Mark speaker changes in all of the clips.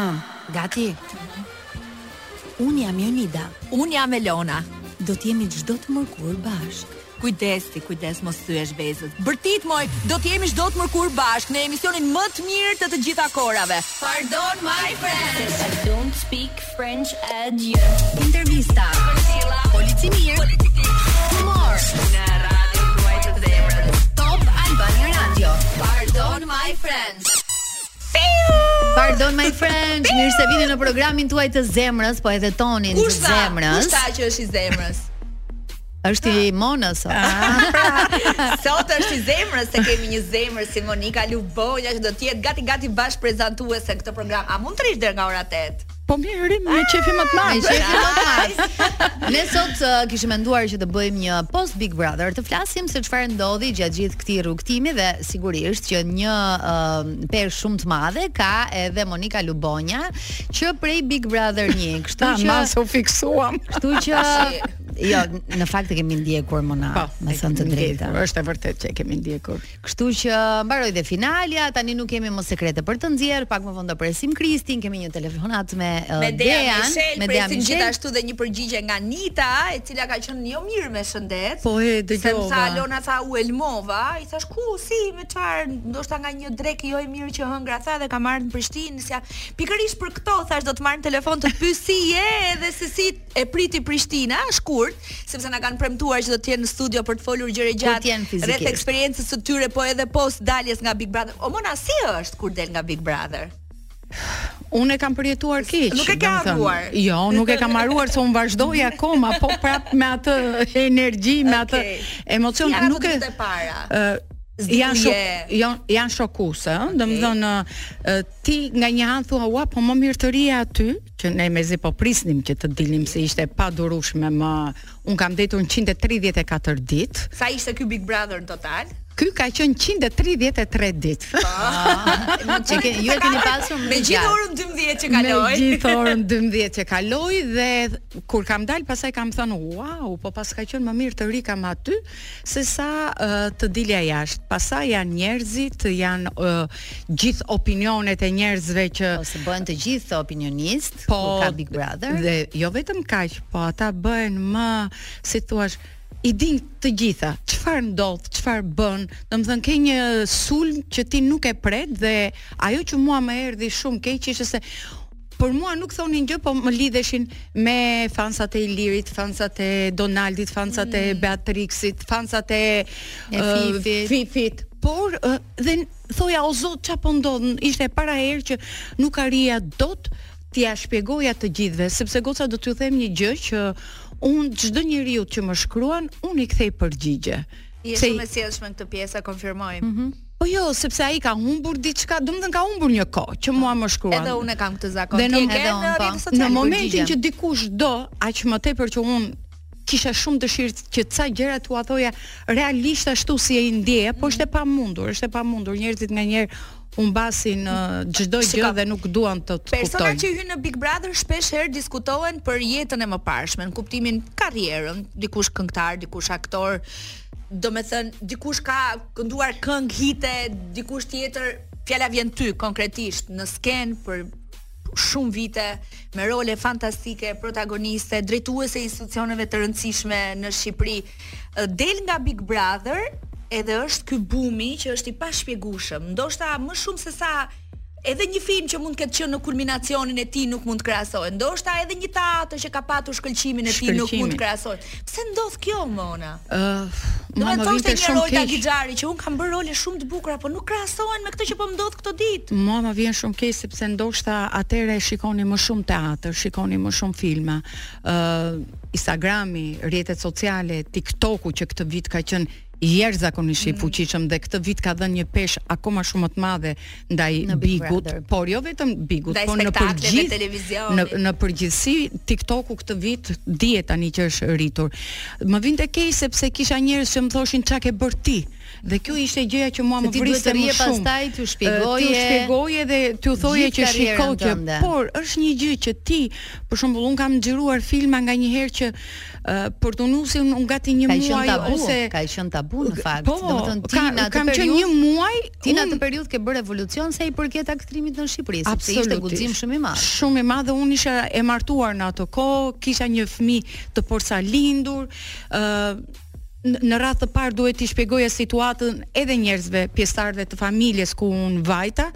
Speaker 1: Gati. Unë jam Jonida.
Speaker 2: Un jam Elona.
Speaker 1: Do të jemi çdo të mërkur bashk.
Speaker 2: Kujdes ti, kujdes mos thyesh vezët. Bërtit moj, do të jemi çdo të mërkur bashk në emisionin më të mirë të të gjitha korave. Pardon my friend.
Speaker 3: I don't speak French at you.
Speaker 1: Intervista. Policimir. Humor.
Speaker 2: Në radio tuaj të zemrës.
Speaker 1: Top Albania Radio.
Speaker 2: Pardon my friend.
Speaker 1: Pardon my friend, mirë se vini në programin tuaj të zemrës, po edhe tonin të
Speaker 2: Kush tha?
Speaker 1: zemrës.
Speaker 2: Kush tha që është i zemrës?
Speaker 1: Është i monës. o.
Speaker 2: Ah. Sot është i zemrës se kemi një zemër si Monika Lubonja që do të jetë gati gati bash prezantuese këtë program. A mund të rish deri nga ora 8?
Speaker 4: Po mirë, rrim me qefi më të
Speaker 1: Me
Speaker 4: madh.
Speaker 1: shefin Ah, më të madh. Ne sot uh, kishim menduar që të bëjmë një post Big Brother, të flasim se çfarë ndodhi gjatë gjithë këtij rrugtimi dhe sigurisht që një uh, peshë shumë të madhe ka edhe Monika Lubonja që prej Big Brother 1, kështu
Speaker 4: Ta,
Speaker 1: që
Speaker 4: Ah, mas u fiksuam.
Speaker 1: kështu që Jo, në fakt e kemi ndjekur Mona, Po,
Speaker 2: Po,
Speaker 1: me thënë të drejtën.
Speaker 4: Është e vërtet që e kemi ndjekur.
Speaker 1: Kështu që mbaroi dhe finalja, tani nuk kemi më sekrete për të nxjerr, pak më vonë do presim Kristin, kemi një telefonat me, uh,
Speaker 2: Me Dea
Speaker 1: Dean,
Speaker 2: Michel,
Speaker 1: me Dea
Speaker 2: presim
Speaker 1: Michel.
Speaker 2: gjithashtu dhe një përgjigje nga Nita, e cila ka qenë jo mirë me shëndet.
Speaker 4: Po e
Speaker 2: Se më tha
Speaker 4: dëgjova.
Speaker 2: Alona tha u elmova, i thash ku si me çfarë, ndoshta nga një drek jo e mirë që hëngra tha dhe ka marrë në Prishtinë, si ja, pikërisht për këto thash do të marr në telefon të të pyes si je edhe se si e priti Prishtina, shkurt, sepse na kanë premtuar që do të jenë në studio për të folur gjëre
Speaker 1: të jenë
Speaker 2: gjatë
Speaker 1: fizikisht.
Speaker 2: rreth eksperiencës së tyre, po edhe post daljes nga Big Brother. O Mona, si është kur del nga Big Brother?
Speaker 4: Unë e kam përjetuar keq.
Speaker 2: Nuk e ke
Speaker 4: domethënë.
Speaker 2: harruar.
Speaker 4: Jo, nuk e kam harruar se unë vazhdoj akoma, po prap me atë energji, me atë
Speaker 2: Okej.
Speaker 4: emocion,
Speaker 2: Ja,
Speaker 4: nuk e
Speaker 2: e para.
Speaker 4: ë
Speaker 2: Zduje.
Speaker 4: janë shok janë janë shokuese, ë, domethënë ë, ti nga një anë thua ua, po më mirë të rija aty, që ne mezi po prisnim që të dilim se ishte pa durueshme më. Un kam detur 134 ditë.
Speaker 2: Sa ishte ky Big Brother në total?
Speaker 4: Ky ka qenë 133 ditë.
Speaker 1: E ke, ju e keni pasur më
Speaker 2: Me gjithë
Speaker 1: gjatë.
Speaker 2: orën 12 që
Speaker 4: Me
Speaker 2: kaloi.
Speaker 4: gjithë orën 12 që kaloi dhe kur kam dal pasaj kam thënë wow, po pas ka qenë më mirë të rikam aty se sa uh, të dilja jashtë. Pastaj janë njerëzit, janë uh, gjithë opinionet e njerëzve që
Speaker 1: Ose bëhen të gjithë të opinionist, po,
Speaker 4: po
Speaker 1: ka Big Brother.
Speaker 4: Dhe jo vetëm kaq, po ata bëhen më, si thua, i din të gjitha, çfarë ndodh, çfarë bën. Domethënë ke një sulm që ti nuk e pret dhe ajo që mua më erdhi shumë keq ishte se Për mua nuk thonin gjë, po më lidheshin me fansat e Ilirit, fansat e Donaldit, fansat e Beatrixit, fansat e,
Speaker 1: Mm.
Speaker 4: uh,
Speaker 1: E
Speaker 4: ë,
Speaker 1: Fifit.
Speaker 4: Fifit. Por ë, dhe n- thoja o zot çfarë po ndodh? Ishte e para herë që nuk arrija dot t'ia shpjegoja të gjithëve, sepse goca do t'ju them një gjë që un çdo njeriu që më shkruan, un i kthej përgjigje.
Speaker 2: Je
Speaker 4: Se-
Speaker 2: shumë e sjellshme në këtë pjesë, e konfirmojmë.
Speaker 4: Po jo, sepse ai ka humbur diçka, domethënë ka humbur një kohë që mua më shkruan.
Speaker 2: Edhe unë e kam këtë zakon.
Speaker 4: Dhe
Speaker 2: Ti
Speaker 4: në-
Speaker 2: e ke
Speaker 1: edhe unë,
Speaker 2: në
Speaker 1: po.
Speaker 2: rrjetet
Speaker 4: në
Speaker 2: sociale.
Speaker 4: momentin
Speaker 1: përgjigjem.
Speaker 4: që dikush do aq më tepër që unë kisha shumë dëshirë që ca gjëra t'ua thoja realisht ashtu si e ndjeja, po është e pamundur, është e pamundur. Njerëzit nganjëherë humbasin ë, uh, çdo
Speaker 2: Shiko,
Speaker 4: gjë dhe nuk duan të të
Speaker 2: Persona që
Speaker 4: kuptojnë.
Speaker 2: hyn në Big Brother shpesh herë diskutohen për jetën e mëparshme, në kuptimin karrierën, dikush këngëtar, dikush aktor, do me thënë, dikush ka kënduar këngë hite, dikush tjetër, fjala vjen ty konkretisht në sken për shumë vite me role fantastike, protagoniste, drejtuese institucioneve të rëndësishme në Shqipëri. Ë, Del nga Big Brother edhe është ky bumi që është i pashpjegueshëm, ndoshta më shumë se sa edhe një film që mund të ketë qenë në kulminacionin e tij nuk mund të krahasohet. Ndoshta edhe një teatër që ka patur shkëlqimin e tij nuk
Speaker 4: Shkëlqimin.
Speaker 2: mund të krahasohet. Pse ndodh kjo Mona?
Speaker 4: Ë,
Speaker 2: Do
Speaker 4: mua
Speaker 2: të
Speaker 4: Uh, më
Speaker 2: thoshte
Speaker 4: vinte
Speaker 2: një
Speaker 4: shumë
Speaker 2: rol ta
Speaker 4: keq.
Speaker 2: Gixhari që un kam bërë role shumë të bukura, por nuk krahasohen me këtë që po më ndodh këto ditë.
Speaker 4: Mua më vjen shumë keq sepse ndoshta atëre shikoni më shumë teatr, shikoni më shumë filma. ë Instagrami, rrjetet sociale, TikToku që këtë vit ka qenë jashtëzakonisht
Speaker 1: Mm.
Speaker 4: i fuqishëm dhe këtë vit ka dhënë një peshë akoma shumë më të madhe ndaj
Speaker 1: Në Big
Speaker 4: bigut,
Speaker 1: Brother.
Speaker 4: por jo vetëm bigut,
Speaker 2: Ndaj
Speaker 4: por në
Speaker 2: spektakleve,
Speaker 4: përgjithë në
Speaker 2: televizionit.
Speaker 4: në përgjithësi TikToku këtë vit dihet tani që është rritur. Më vinte keq sepse kisha njerëz që më thoshin çka ke bërë ti Dhe kjo ishte gjëja që mua
Speaker 1: Se
Speaker 4: më
Speaker 1: ti duhet
Speaker 4: vriste
Speaker 1: të rije
Speaker 4: më shumë.
Speaker 1: pastaj, t'ju
Speaker 4: Ë,
Speaker 1: shpjegoje
Speaker 4: t'ju shpjegoje dhe t'ju thoje
Speaker 1: gjithë
Speaker 4: që
Speaker 1: karrierën
Speaker 4: shiko kjo.
Speaker 1: tënde.
Speaker 4: Por është një gjë që ti, për shembull, un kam xhiruar filma nga një herë që uh, për tunusin un gati një
Speaker 1: Ka qenë
Speaker 4: muaj
Speaker 1: tabu,
Speaker 4: ose
Speaker 1: ka qenë tabu në fakt.
Speaker 4: Po,
Speaker 1: Domethënë ti
Speaker 4: ka,
Speaker 1: në atë
Speaker 4: kam qenë një
Speaker 1: periudhë
Speaker 4: muaj
Speaker 1: Ti në
Speaker 4: unë-
Speaker 1: atë periudhë ke bërë evolucion sa i përket aktrimit në Shqipëri, sepse ishte
Speaker 4: Absolutisht.
Speaker 1: guxim shumë i madh.
Speaker 4: Shumë i madh dhe unë isha e martuar në ato kohë, kisha një fëmijë të porsa lindur, ë në- në radhë të parë duhet t'i shpjegoja situatën edhe njerëzve pjesëtarëve të familjes ku unë vajta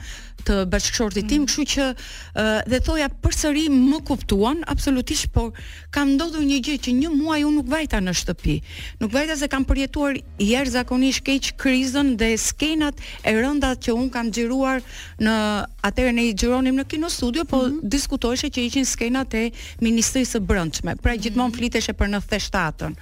Speaker 4: të bashkëshortit
Speaker 1: Mm.
Speaker 4: tim, kështu që ë, dhe thoja përsëri më kuptuan absolutisht, por kam ndodhur një gjë që një muaj unë nuk vajta në shtëpi. Nuk vajta se kam përjetuar jashtëzakonisht keq krizën dhe skenat e rënda që un kam xhiruar në atëherë ne i xhironim në kino studio, po diskutoheshe që ishin skenat e Ministrisë së Brendshme. Pra gjithmonë fliteshe për 97-ën.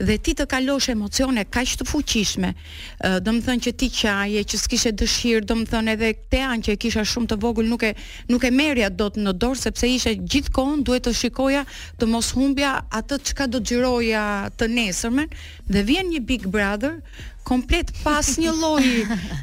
Speaker 4: Dhe ti të kalosh emocione kaq të fuqishme, ë, do të thënë që ti qaje, që s'kishe dëshirë, do të thënë edhe këtë anë që e kisha shumë të vogël nuk e nuk e merrja dot në dorë sepse ishe gjithkohon duhet të shikoja të mos humbja atë çka do xhiroja të nesërmen dhe vjen një Big Brother komplet pas një lloj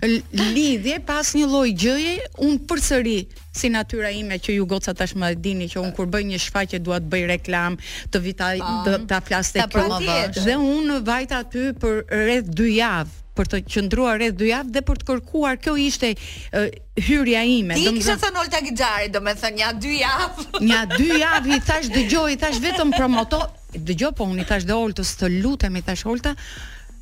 Speaker 4: l- lidhje, pas një lloj gjëje, un përsëri si natyra ime që ju goca tashmë e dini që un kur bëj një shfaqje dua të bëj reklam, të vitaj të- ta flas
Speaker 1: Ta
Speaker 4: tek ju.
Speaker 1: promovosh.
Speaker 4: Dhe unë vajta aty për rreth 2 javë për të qëndruar rreth 2 javë dhe për të kërkuar kjo ishte ë, hyrja ime.
Speaker 2: Ti
Speaker 4: domethënë-
Speaker 2: kishe thënë Olta Gixhari, domethënë ja dy javë.
Speaker 4: Nja dy javë i thash dëgjoj, i thash vetëm promoto, dëgjoj po unë i thash dhe Oltës të lutem i thash Olta,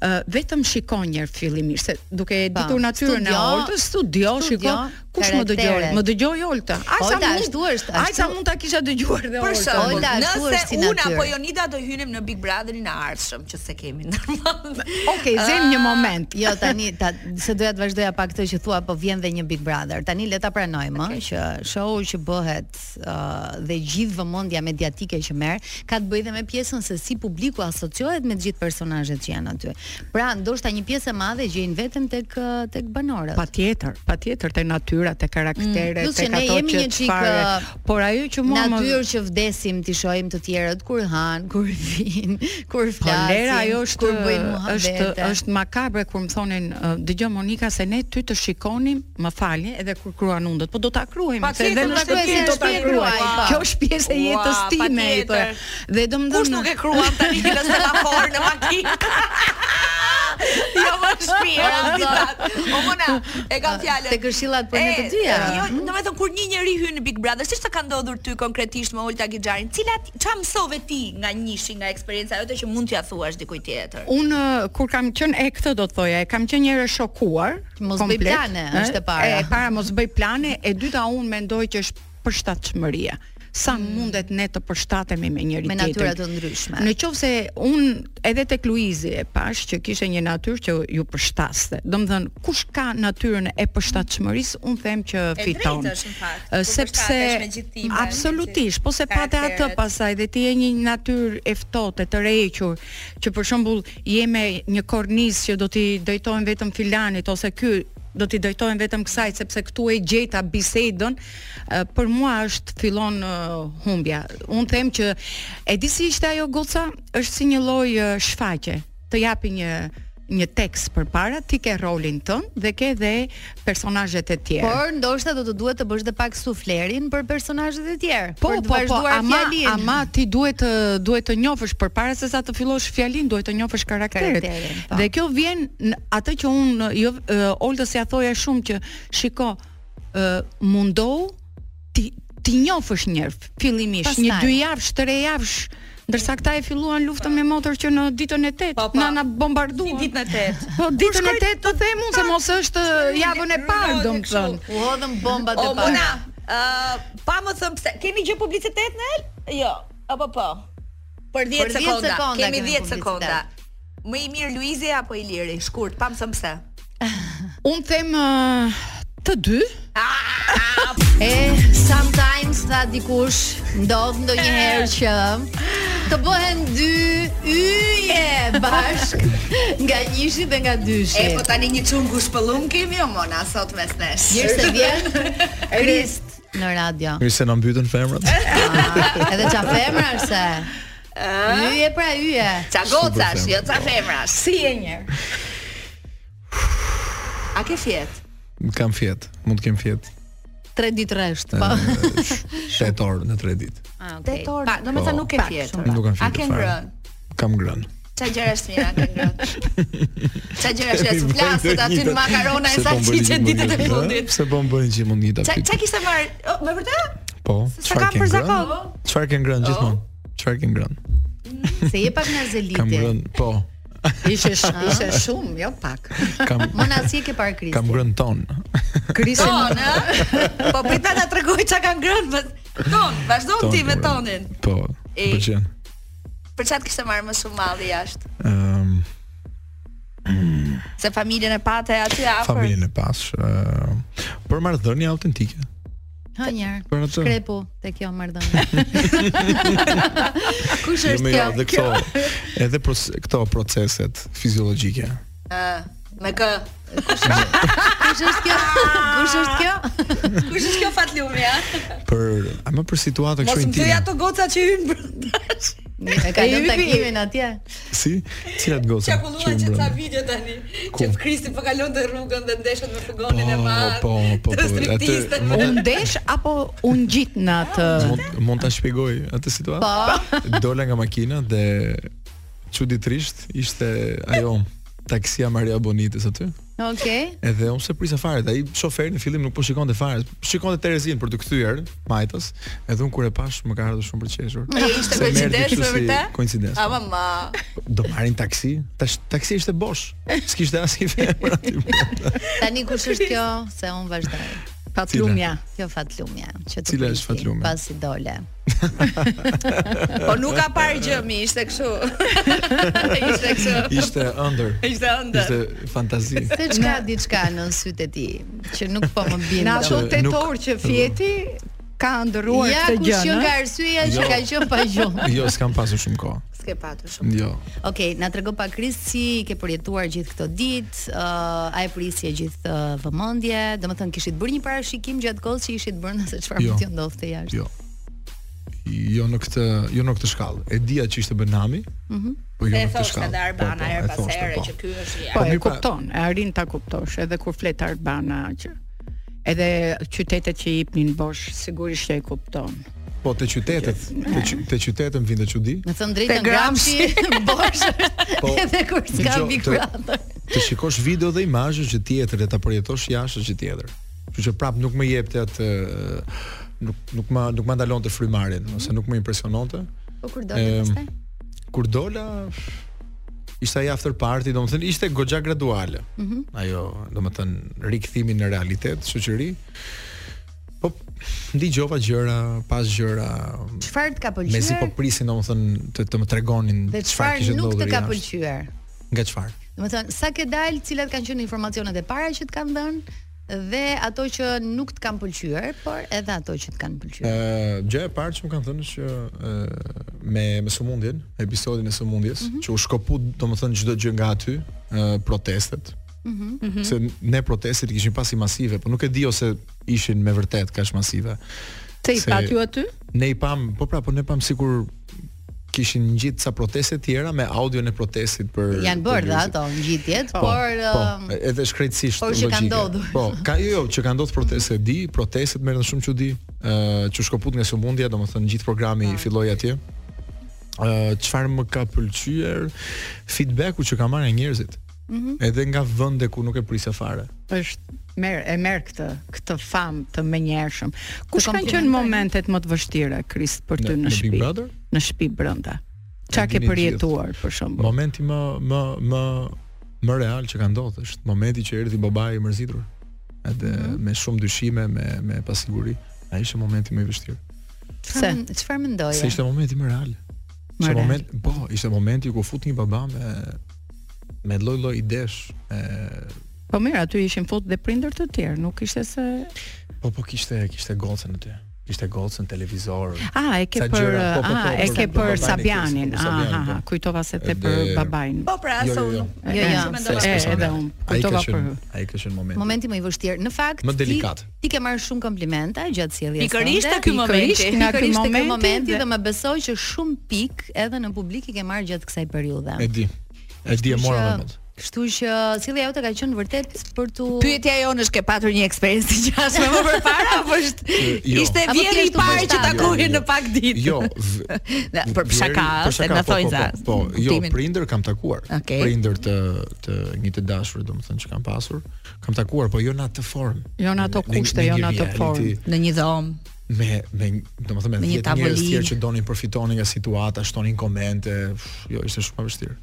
Speaker 4: ë, vetëm shikon një herë fillimisht se duke e
Speaker 1: Pa,
Speaker 4: ditur natyrën e
Speaker 1: studio,
Speaker 4: Oltës, studio,
Speaker 1: studio,
Speaker 4: shiko, kush më dëgjoi?
Speaker 1: karakteret.
Speaker 4: Më dëgjoi Olta. Ai sa
Speaker 1: Olta,
Speaker 4: mund,
Speaker 1: ashtu është,
Speaker 4: Ai sa
Speaker 1: ashtu-
Speaker 4: mund ta kisha dëgjuar dhe
Speaker 2: Për
Speaker 4: Olta.
Speaker 2: shembull,
Speaker 1: Olta, ashtu
Speaker 2: nëse
Speaker 1: është si
Speaker 2: unë
Speaker 1: natyrë.
Speaker 2: apo Jonida do hynim në Big Brotherin e ardhshëm, që se kemi normal.
Speaker 4: Okej,
Speaker 1: Ah.
Speaker 4: zem një moment.
Speaker 1: Jo tani ta, se doja të vazhdoja pak këtë që thua, po vjen dhe një Big Brother. Tani le ta pranojmë ë, që show që bëhet uh, dhe gjithë vëmendja mediatike që merr ka të bëjë dhe me pjesën se si publiku asociohet me të gjithë personazhet që janë aty. Pra, ndoshta një pjesë e madhe gjejnë veten tek ë, tek banorët.
Speaker 4: Patjetër, patjetër te natyra, te karakteret,
Speaker 1: Mm, Plus
Speaker 4: te
Speaker 1: që ne
Speaker 4: ato
Speaker 1: jemi
Speaker 4: që
Speaker 1: një çik,
Speaker 4: çfarë,
Speaker 1: ë,
Speaker 4: por ajo që mua më
Speaker 1: Natyrë që vdesim ti shohim të tjerët kur han, kur vin, kur
Speaker 4: Po
Speaker 1: flasin,
Speaker 4: lera ajo është
Speaker 1: kur bëjnë muhabete.
Speaker 4: është është makabre kur më thonin "Ë, dëgjoj Monika se ne ty të shikonim, më falni, edhe kur kruan undët, po do ta kruajmë,
Speaker 2: Pa
Speaker 4: se
Speaker 2: tjetër,
Speaker 4: edhe
Speaker 2: do
Speaker 4: në
Speaker 2: ta
Speaker 4: shtëpi
Speaker 1: kruaj,
Speaker 4: do
Speaker 1: se
Speaker 4: ta
Speaker 1: është
Speaker 4: kruaj.
Speaker 1: kruaj, pa.
Speaker 4: Kjo është pjesë e
Speaker 2: Ua,
Speaker 4: jetës time, i
Speaker 2: patjetër.
Speaker 4: thoj. Dhe domethënë
Speaker 2: Kush nuk e kruan tani në semafor në makinë? Jo më në shtëpi. o, Zot. O mona, e kam fjalën.
Speaker 1: Po, Ah, Te këshillat për ne të
Speaker 2: E,
Speaker 1: dyja.
Speaker 2: Jo, domethënë kur një njeri hyn në Big Brother, siç të ka ndodhur ty konkretisht me Olta Gixharin, cilat çfarë mësove ti nga njishi, nga eksperjenca jote që mund t'ia thuash dikujt tjetër?
Speaker 4: Unë ë, kur kam qenë e këtë do të thoja, e kam qenë një herë shokuar.
Speaker 1: Që mos
Speaker 4: komplet,
Speaker 1: bëj plane,
Speaker 4: ë,
Speaker 1: është e para.
Speaker 4: E para mos bëj plane, e dyta unë mendoj që është përshtatshmëria. Sa mundet ne të përshtatemi me njëri
Speaker 1: Me
Speaker 4: tjetrin.
Speaker 1: natyra të ndryshme.
Speaker 4: Në qovë se unë edhe tek Luizi e pash që kishe një natyrë që ju përshtaste. Do më thënë, kush ka natyrën e përshtatshmërisë, unë them që
Speaker 2: E
Speaker 4: fiton.
Speaker 2: drejtë është në fakt,
Speaker 4: Ë,
Speaker 2: kur
Speaker 4: sepse
Speaker 2: përshtatesh me gjithë tipen,
Speaker 4: absolutisht,
Speaker 2: me gjithë
Speaker 4: po se pate atë
Speaker 2: karakteret.
Speaker 4: pasaj dhe ti je një natyrë e ftohtë, e të rrequr, që për shembull je me një kornizë që do t'i drejtojnë vetëm filanit ose ky do t'i drejtojnë vetëm kësaj sepse këtu e gjeta bisedën, ë, për mua është fillon ë, humbja. Unë them që e di si ishte ajo goca, është si një lloj ë, shfaqe. Të japi një një tekst përpara, ti ke rolin tënd dhe ke dhe personazhet e tjerë.
Speaker 1: Por ndoshta do të duhet të bësh dhe pak suflerin për personazhet e tjerë.
Speaker 4: Po,
Speaker 1: për të
Speaker 4: po, po,
Speaker 1: vazhduar
Speaker 4: ama,
Speaker 1: fjalin.
Speaker 4: ama ti duhet të duhet të njohësh përpara se sa të fillosh fjalin, duhet të njohësh karakteret.
Speaker 1: Karakterin, po.
Speaker 4: Dhe kjo vjen në atë që unë jo e, Oltës ja thoja shumë që shiko, ë mundohu ti ti njohësh një herë fillimisht,
Speaker 1: Pastaj.
Speaker 4: një dy javësh, tre javësh, ndërsa këta e filluan luftën me motor që në ditën e
Speaker 2: Pa,
Speaker 1: Po,
Speaker 4: 8
Speaker 2: pa.
Speaker 4: na na bombarduan.
Speaker 2: Si ditën e tetë.
Speaker 4: Po ditën e
Speaker 2: shkoj-
Speaker 4: 8 të them unë se mos është
Speaker 2: shkoj-
Speaker 4: javën e parë,
Speaker 2: Lodhi,
Speaker 4: domethënë.
Speaker 1: u hodhën bombat e
Speaker 2: O
Speaker 1: para.
Speaker 2: mona, ë pa më thëm pse kemi gjë publicitet në el? Jo, apo po. Për 10
Speaker 1: 10
Speaker 2: sekonda.
Speaker 1: sekonda
Speaker 2: Kemi
Speaker 1: kemi
Speaker 2: 10 sekonda.
Speaker 1: publicitet.
Speaker 2: Më i mirë Luizi apo Iliri? Shkurt, pa më thëm pse.
Speaker 4: Unë them ë, të dy,
Speaker 1: E sometimes tha dikush ndodh ndonjëherë që të bëhen dy yje bashk nga njëshi dhe nga dyshi.
Speaker 2: E po tani një çungu shpëllum kemi o mona sot mes nesh.
Speaker 1: Mirë se vjen Krist në radio.
Speaker 5: Mirë se na mbytën femrat.
Speaker 2: Eh?
Speaker 1: Ah, Edhe qa femra se Yje pra yje.
Speaker 2: Ça gocash, jo ça femrash.
Speaker 4: si e një.
Speaker 2: A ke fjet?
Speaker 5: Kam fjet, mund të kem fjet.
Speaker 1: 3 ditë rresht.
Speaker 2: Oh.
Speaker 1: Po.
Speaker 5: Shtet orë në 3 ditë.
Speaker 1: Ah, okay.
Speaker 2: Tetor. Pa, do me
Speaker 5: Po.
Speaker 2: thënë nuk ke
Speaker 1: Pak,
Speaker 2: fjet.
Speaker 1: shumë
Speaker 5: Nuk kam
Speaker 2: Pra, A
Speaker 5: fjetur
Speaker 2: ke
Speaker 5: fare.
Speaker 2: ngrën?
Speaker 5: Kam ngrënë.
Speaker 2: Qa gjëra është mira ke ngrënë? Qa gjëra është
Speaker 5: Kemi
Speaker 2: mira? Flaset
Speaker 5: bëjnë
Speaker 2: aty në
Speaker 5: një-
Speaker 2: makarona e
Speaker 5: se po më bëni
Speaker 2: salciçe
Speaker 5: një
Speaker 2: ditët e
Speaker 5: mundjet,
Speaker 2: fundit.
Speaker 5: ha? Se po më bëni që mund një
Speaker 2: Qa
Speaker 5: tapik.
Speaker 2: qa kishte marrë? Oh, me vërtet?
Speaker 5: Po,
Speaker 2: Sa
Speaker 5: çfarë
Speaker 2: kam
Speaker 5: ke
Speaker 2: për
Speaker 5: ngrënë?
Speaker 2: zakon? Oh.
Speaker 5: Çfarë ke ngrënë gjithmonë? Çfarë ke ngrënë?
Speaker 1: Se je pak nga
Speaker 5: Kam
Speaker 1: zeliti.
Speaker 5: ngrënë, po,
Speaker 4: Ishe sh- ishe shumë, jo pak.
Speaker 5: kam
Speaker 1: Mona si e ke parë Kristi?
Speaker 5: kam ngrënë ton.
Speaker 2: Po
Speaker 4: Krisen
Speaker 2: Ton, ha? Po prita ta tregoj qa ka ngrënë. pas- Ton, vazhdon
Speaker 5: Ton
Speaker 2: ti
Speaker 5: ke
Speaker 2: me
Speaker 5: ngrënë.
Speaker 2: tonin.
Speaker 5: Po,
Speaker 2: E.
Speaker 5: pëlqen.
Speaker 2: Për çat kishte marrë më shumë malli jashtë?
Speaker 5: Ëm,
Speaker 2: Se familjen e pate aty afër.
Speaker 5: familjen e pas, ëm, për marrëdhënie autentike.
Speaker 1: Hë njerë.
Speaker 5: Për atë.
Speaker 1: Shkrepu te kjo marrëdhënie. Kush
Speaker 5: Jo,
Speaker 1: është
Speaker 5: me
Speaker 1: kjo?
Speaker 5: edhe këto, edhe pros- këto proceset fiziologjike.
Speaker 2: Ë, Me kë?
Speaker 1: Kush është kjo? Kush është kjo?
Speaker 2: Kush është kjo fatlumi, ha?
Speaker 5: Për, a më për situata
Speaker 2: Mos
Speaker 5: kështu
Speaker 2: më thuj
Speaker 5: intime.
Speaker 2: ato goca që hyn brenda.
Speaker 1: E ka lënë takimin atje.
Speaker 5: Si? Cilat goca?
Speaker 2: Çakulluan që
Speaker 5: Që mbrëmë?
Speaker 2: ca video tani.
Speaker 5: Ku?
Speaker 2: Që Kristi po kalonte rrugën dhe ndeshët me
Speaker 5: Po,
Speaker 2: furgonin e madh.
Speaker 5: po, po, po.
Speaker 2: të striptiste.
Speaker 5: Atë mund
Speaker 4: u ndesh apo u ngjit në atë
Speaker 5: mund- mund ta shpjegoj atë situatë.
Speaker 1: Po.
Speaker 5: Dola nga makina dhe çuditërisht ishte ajo taksia Maria Bonitës aty.
Speaker 1: Okej.
Speaker 5: Edhe unë se prisa fare, ai shoferi në fillim nuk po shikonte fare, shikonte Terezin për të kthyer majtas, edhe unë kur e pash më ka ardhur shumë për qeshur.
Speaker 2: ishte
Speaker 5: Se merrti
Speaker 2: koincidencë,
Speaker 5: kështu
Speaker 2: me
Speaker 5: si
Speaker 2: vërtet?
Speaker 5: Koincidencë.
Speaker 2: Ama ma.
Speaker 5: Do marrin taksi? Tash taksi ishte bosh. S'kishte asnjë femër aty.
Speaker 1: Tani kush është kjo? Se un vazhdoj.
Speaker 4: patlumja.
Speaker 1: Kjo fatlumja që të
Speaker 5: Cila është
Speaker 1: priti,
Speaker 5: fatlumja?
Speaker 1: Pasi dole.
Speaker 2: Po nuk ka parë gjë mi, ishte kështu. ishte kështu.
Speaker 5: Ishte ëndër.
Speaker 2: Ishte ëndër.
Speaker 5: Ishte fantazi.
Speaker 1: Se çka diçka në sytë e ti që nuk po më
Speaker 4: Në
Speaker 1: bindë.
Speaker 4: ato
Speaker 5: Që nuk-
Speaker 4: tetor që fjeti ka ndëruar
Speaker 1: Ja
Speaker 4: këtë
Speaker 1: kush
Speaker 4: gjë.
Speaker 1: që
Speaker 4: në?
Speaker 1: nga arsyeja që
Speaker 5: Jo.
Speaker 1: ka qenë pa gjumë.
Speaker 5: Jo, s'kam pasur shumë kohë.
Speaker 2: S'ke patur shumë.
Speaker 5: Jo.
Speaker 1: Okej, na trego pak Kris si ke përjetuar gjithë këto ditë, uh, a e prisje gjithë uh, vëmendje, domethënë kishit bërë një parashikim gjatë kohës që ishit bërë se çfarë
Speaker 5: Jo.
Speaker 1: mund të ndodhte jashtë.
Speaker 5: Jo. Jo në këtë, jo në këtë shkallë. E dija që ishte Benami. Mhm. po jo
Speaker 2: E
Speaker 5: në këtë
Speaker 2: thoshte
Speaker 5: shkallë.
Speaker 2: edhe Arbana
Speaker 5: Po, po,
Speaker 2: herë
Speaker 5: e
Speaker 2: pas
Speaker 5: thoshte,
Speaker 2: here
Speaker 5: po.
Speaker 2: që ky është ja.
Speaker 4: Po e
Speaker 5: mirë, pra-
Speaker 4: kupton, e arrin ta kuptosh edhe kur flet Arbana që edhe qytetet që i jepnin bosh sigurisht që e kupton.
Speaker 5: Po te qytetet, te, qy- te qytetet më vjen të çudi.
Speaker 1: Me thënë drejtën
Speaker 2: Te
Speaker 1: Gramshi, bosh,
Speaker 5: Po,
Speaker 1: edhe kur s'ka
Speaker 5: dëgjo,
Speaker 1: Big
Speaker 5: të-
Speaker 1: Brother.
Speaker 5: Të shikosh video dhe imazhe që tjetër dhe ta përjetosh jashtë që tjetër. Kështu që prap nuk më jepte atë eh, nuk nuk ma nuk ma ndalonte frymarrjen ose nuk më impresiononte.
Speaker 1: Po kur dole
Speaker 5: Em,
Speaker 1: pastaj?
Speaker 5: Kur dola ishte ai after party, domethënë ishte goxha graduale.
Speaker 1: Mhm.
Speaker 5: Ajo, domethënë rikthimi në realitet, shoqëri. Po ndigjova gjëra, pas gjëra,
Speaker 1: Çfarë të ka
Speaker 5: mezi po
Speaker 1: pëlqyer?
Speaker 5: prisin domethënë të, të më tregonin
Speaker 1: Dhe
Speaker 5: çfarë kishte
Speaker 1: çfarë nuk të
Speaker 5: ndodhur
Speaker 1: ka
Speaker 5: jashtë.
Speaker 1: pëlqyer?
Speaker 5: Nga çfarë?
Speaker 1: Domethënë sa ke dalë, cilat kanë qenë informacionet e para që të kanë dhënë dhe ato që nuk të kanë pëlqyer, por edhe ato që të kanë pëlqyer.
Speaker 5: Ë, gjë e parë që më kanë thënë është që ë me me sëmundjen, episodin e sëmundjes, që u shkopu domethënë çdo gjë nga aty, ë protestet. Mhm. Se ne protestet i kishin pasi masive, po nuk e di ose ishin me vërtet kaq masive.
Speaker 4: Se i
Speaker 5: Se-
Speaker 4: pat ju aty?
Speaker 5: Ne i pam, po pra, po ne pam sikur kishin ngjit sa proteste tjera me audion e protestit për
Speaker 1: Janë
Speaker 5: për
Speaker 1: bërë dhe
Speaker 5: njerëzit.
Speaker 1: ato ngjitjet,
Speaker 5: Po,
Speaker 1: por ëm,
Speaker 5: po, edhe shkrejtësisht
Speaker 1: por që ka
Speaker 5: logjike.
Speaker 1: ndodhur.
Speaker 5: Po, ka jo, jo, që ka ndodhur proteste e di, protestet merren shumë çudi, ë që shkoput nga sëmundja, domethënë gjithë programi
Speaker 1: Ah.
Speaker 5: filloi atje. ë çfarë më ka pëlqyer feedbacku që ka marrë nga njerëzit.
Speaker 1: Mhm.
Speaker 5: Edhe nga vende ku nuk e prisa fare.
Speaker 4: është merr e merr këtë këtë famë të menjëhershëm. Kush kanë qenë momentet më të vështira Krist për ty
Speaker 5: Në-
Speaker 4: në,
Speaker 5: në Big
Speaker 4: shtëpi?
Speaker 5: Brother?
Speaker 4: Në shtëpi brenda. Çka
Speaker 5: E
Speaker 4: ke
Speaker 5: dini
Speaker 4: përjetuar për shembull?
Speaker 5: Momenti më më më më real që ka ndodhur është momenti që erdhi babai i mërzitur. Edhe
Speaker 1: Mhm.
Speaker 5: me shumë dyshime, me me pasiguri. Ai ishte momenti më i vështirë.
Speaker 1: pse? Çfarë mendoje?
Speaker 5: Se ishte momenti më real.
Speaker 4: Po, Më
Speaker 5: Ishte
Speaker 4: real.
Speaker 5: moment, po, ishte momenti ku fut një baba me me lloj-lloj idesh, e
Speaker 4: Po mirë, aty ishin fut dhe prindër të tjerë, nuk ishte se
Speaker 5: po po kishte kishte gocën aty. Kishte gocën televizor.
Speaker 4: Ah, e ke
Speaker 5: Sa
Speaker 4: për
Speaker 5: gjëra, po, po,
Speaker 4: ah,
Speaker 5: po,
Speaker 4: e
Speaker 5: për-
Speaker 4: ke
Speaker 5: për
Speaker 4: për
Speaker 5: babain e
Speaker 4: Sabianin.
Speaker 5: Kristit, për
Speaker 4: Ah,
Speaker 5: Sabianin,
Speaker 4: ah, ah,
Speaker 5: po.
Speaker 4: kujtova se te për
Speaker 5: Edhe-
Speaker 4: babain.
Speaker 2: Po pra, se
Speaker 5: Jo, jo, jo.
Speaker 2: unë.
Speaker 1: Jo,
Speaker 4: E,
Speaker 1: jo.
Speaker 2: se
Speaker 5: Fes
Speaker 4: e,
Speaker 5: personale.
Speaker 4: edhe unë
Speaker 5: Ai ka
Speaker 4: kujtova për
Speaker 5: qenë, ai ka qenë momenti.
Speaker 1: Momenti më i vështirë. Në fakt,
Speaker 5: Më delikat.
Speaker 1: Ti, ti ke marrë shumë komplimente gjatë sjelljes.
Speaker 2: Pikërisht te
Speaker 1: tënde.
Speaker 2: ky
Speaker 4: Pikërisht
Speaker 2: momenti.
Speaker 4: nga ky
Speaker 1: Pikërisht te ky
Speaker 4: momenti
Speaker 1: momenti
Speaker 4: dhe-
Speaker 1: dhe më besoj që shumë pik edhe në publik i ke marrë gjatë kësaj periudhe.
Speaker 5: E di. E di e
Speaker 1: Kështu
Speaker 5: mora
Speaker 1: që-
Speaker 5: më mend.
Speaker 1: Kështu që sjellja jote ka qenë vërtet për tu
Speaker 2: Pyetja jonë është ke patur një eksperiencë të gjashme më përpara apo është
Speaker 5: Jo.
Speaker 2: ishte
Speaker 1: Apo
Speaker 2: vjeri i
Speaker 1: thjesht u
Speaker 2: parë që
Speaker 1: përshtatje?
Speaker 2: takohej
Speaker 5: Jo,
Speaker 2: në pak ditë.
Speaker 5: Jo, v-
Speaker 2: Na, për
Speaker 5: vjeri-
Speaker 2: shaka,
Speaker 5: për
Speaker 2: se
Speaker 5: shaka,
Speaker 2: na
Speaker 5: po,
Speaker 2: thojnë
Speaker 5: po,
Speaker 2: za.
Speaker 5: Po, po jo,
Speaker 2: kuptimin.
Speaker 5: prindër kam takuar.
Speaker 2: Okej.
Speaker 5: Prindër të të një të dashur, domethënë që kam pasur, kam takuar, po jo në atë formë.
Speaker 4: Jo në ato
Speaker 5: një-
Speaker 4: kushte,
Speaker 5: një
Speaker 4: jo në atë
Speaker 5: reality
Speaker 4: formë.
Speaker 2: në një dhomë.
Speaker 5: Me me domethënë me
Speaker 2: Me një
Speaker 5: 10 njerëz
Speaker 2: tavolinë.
Speaker 5: tjerë që donin përfitonin nga situata, shtonin komente, pff, jo, ishte shumë e vështirë.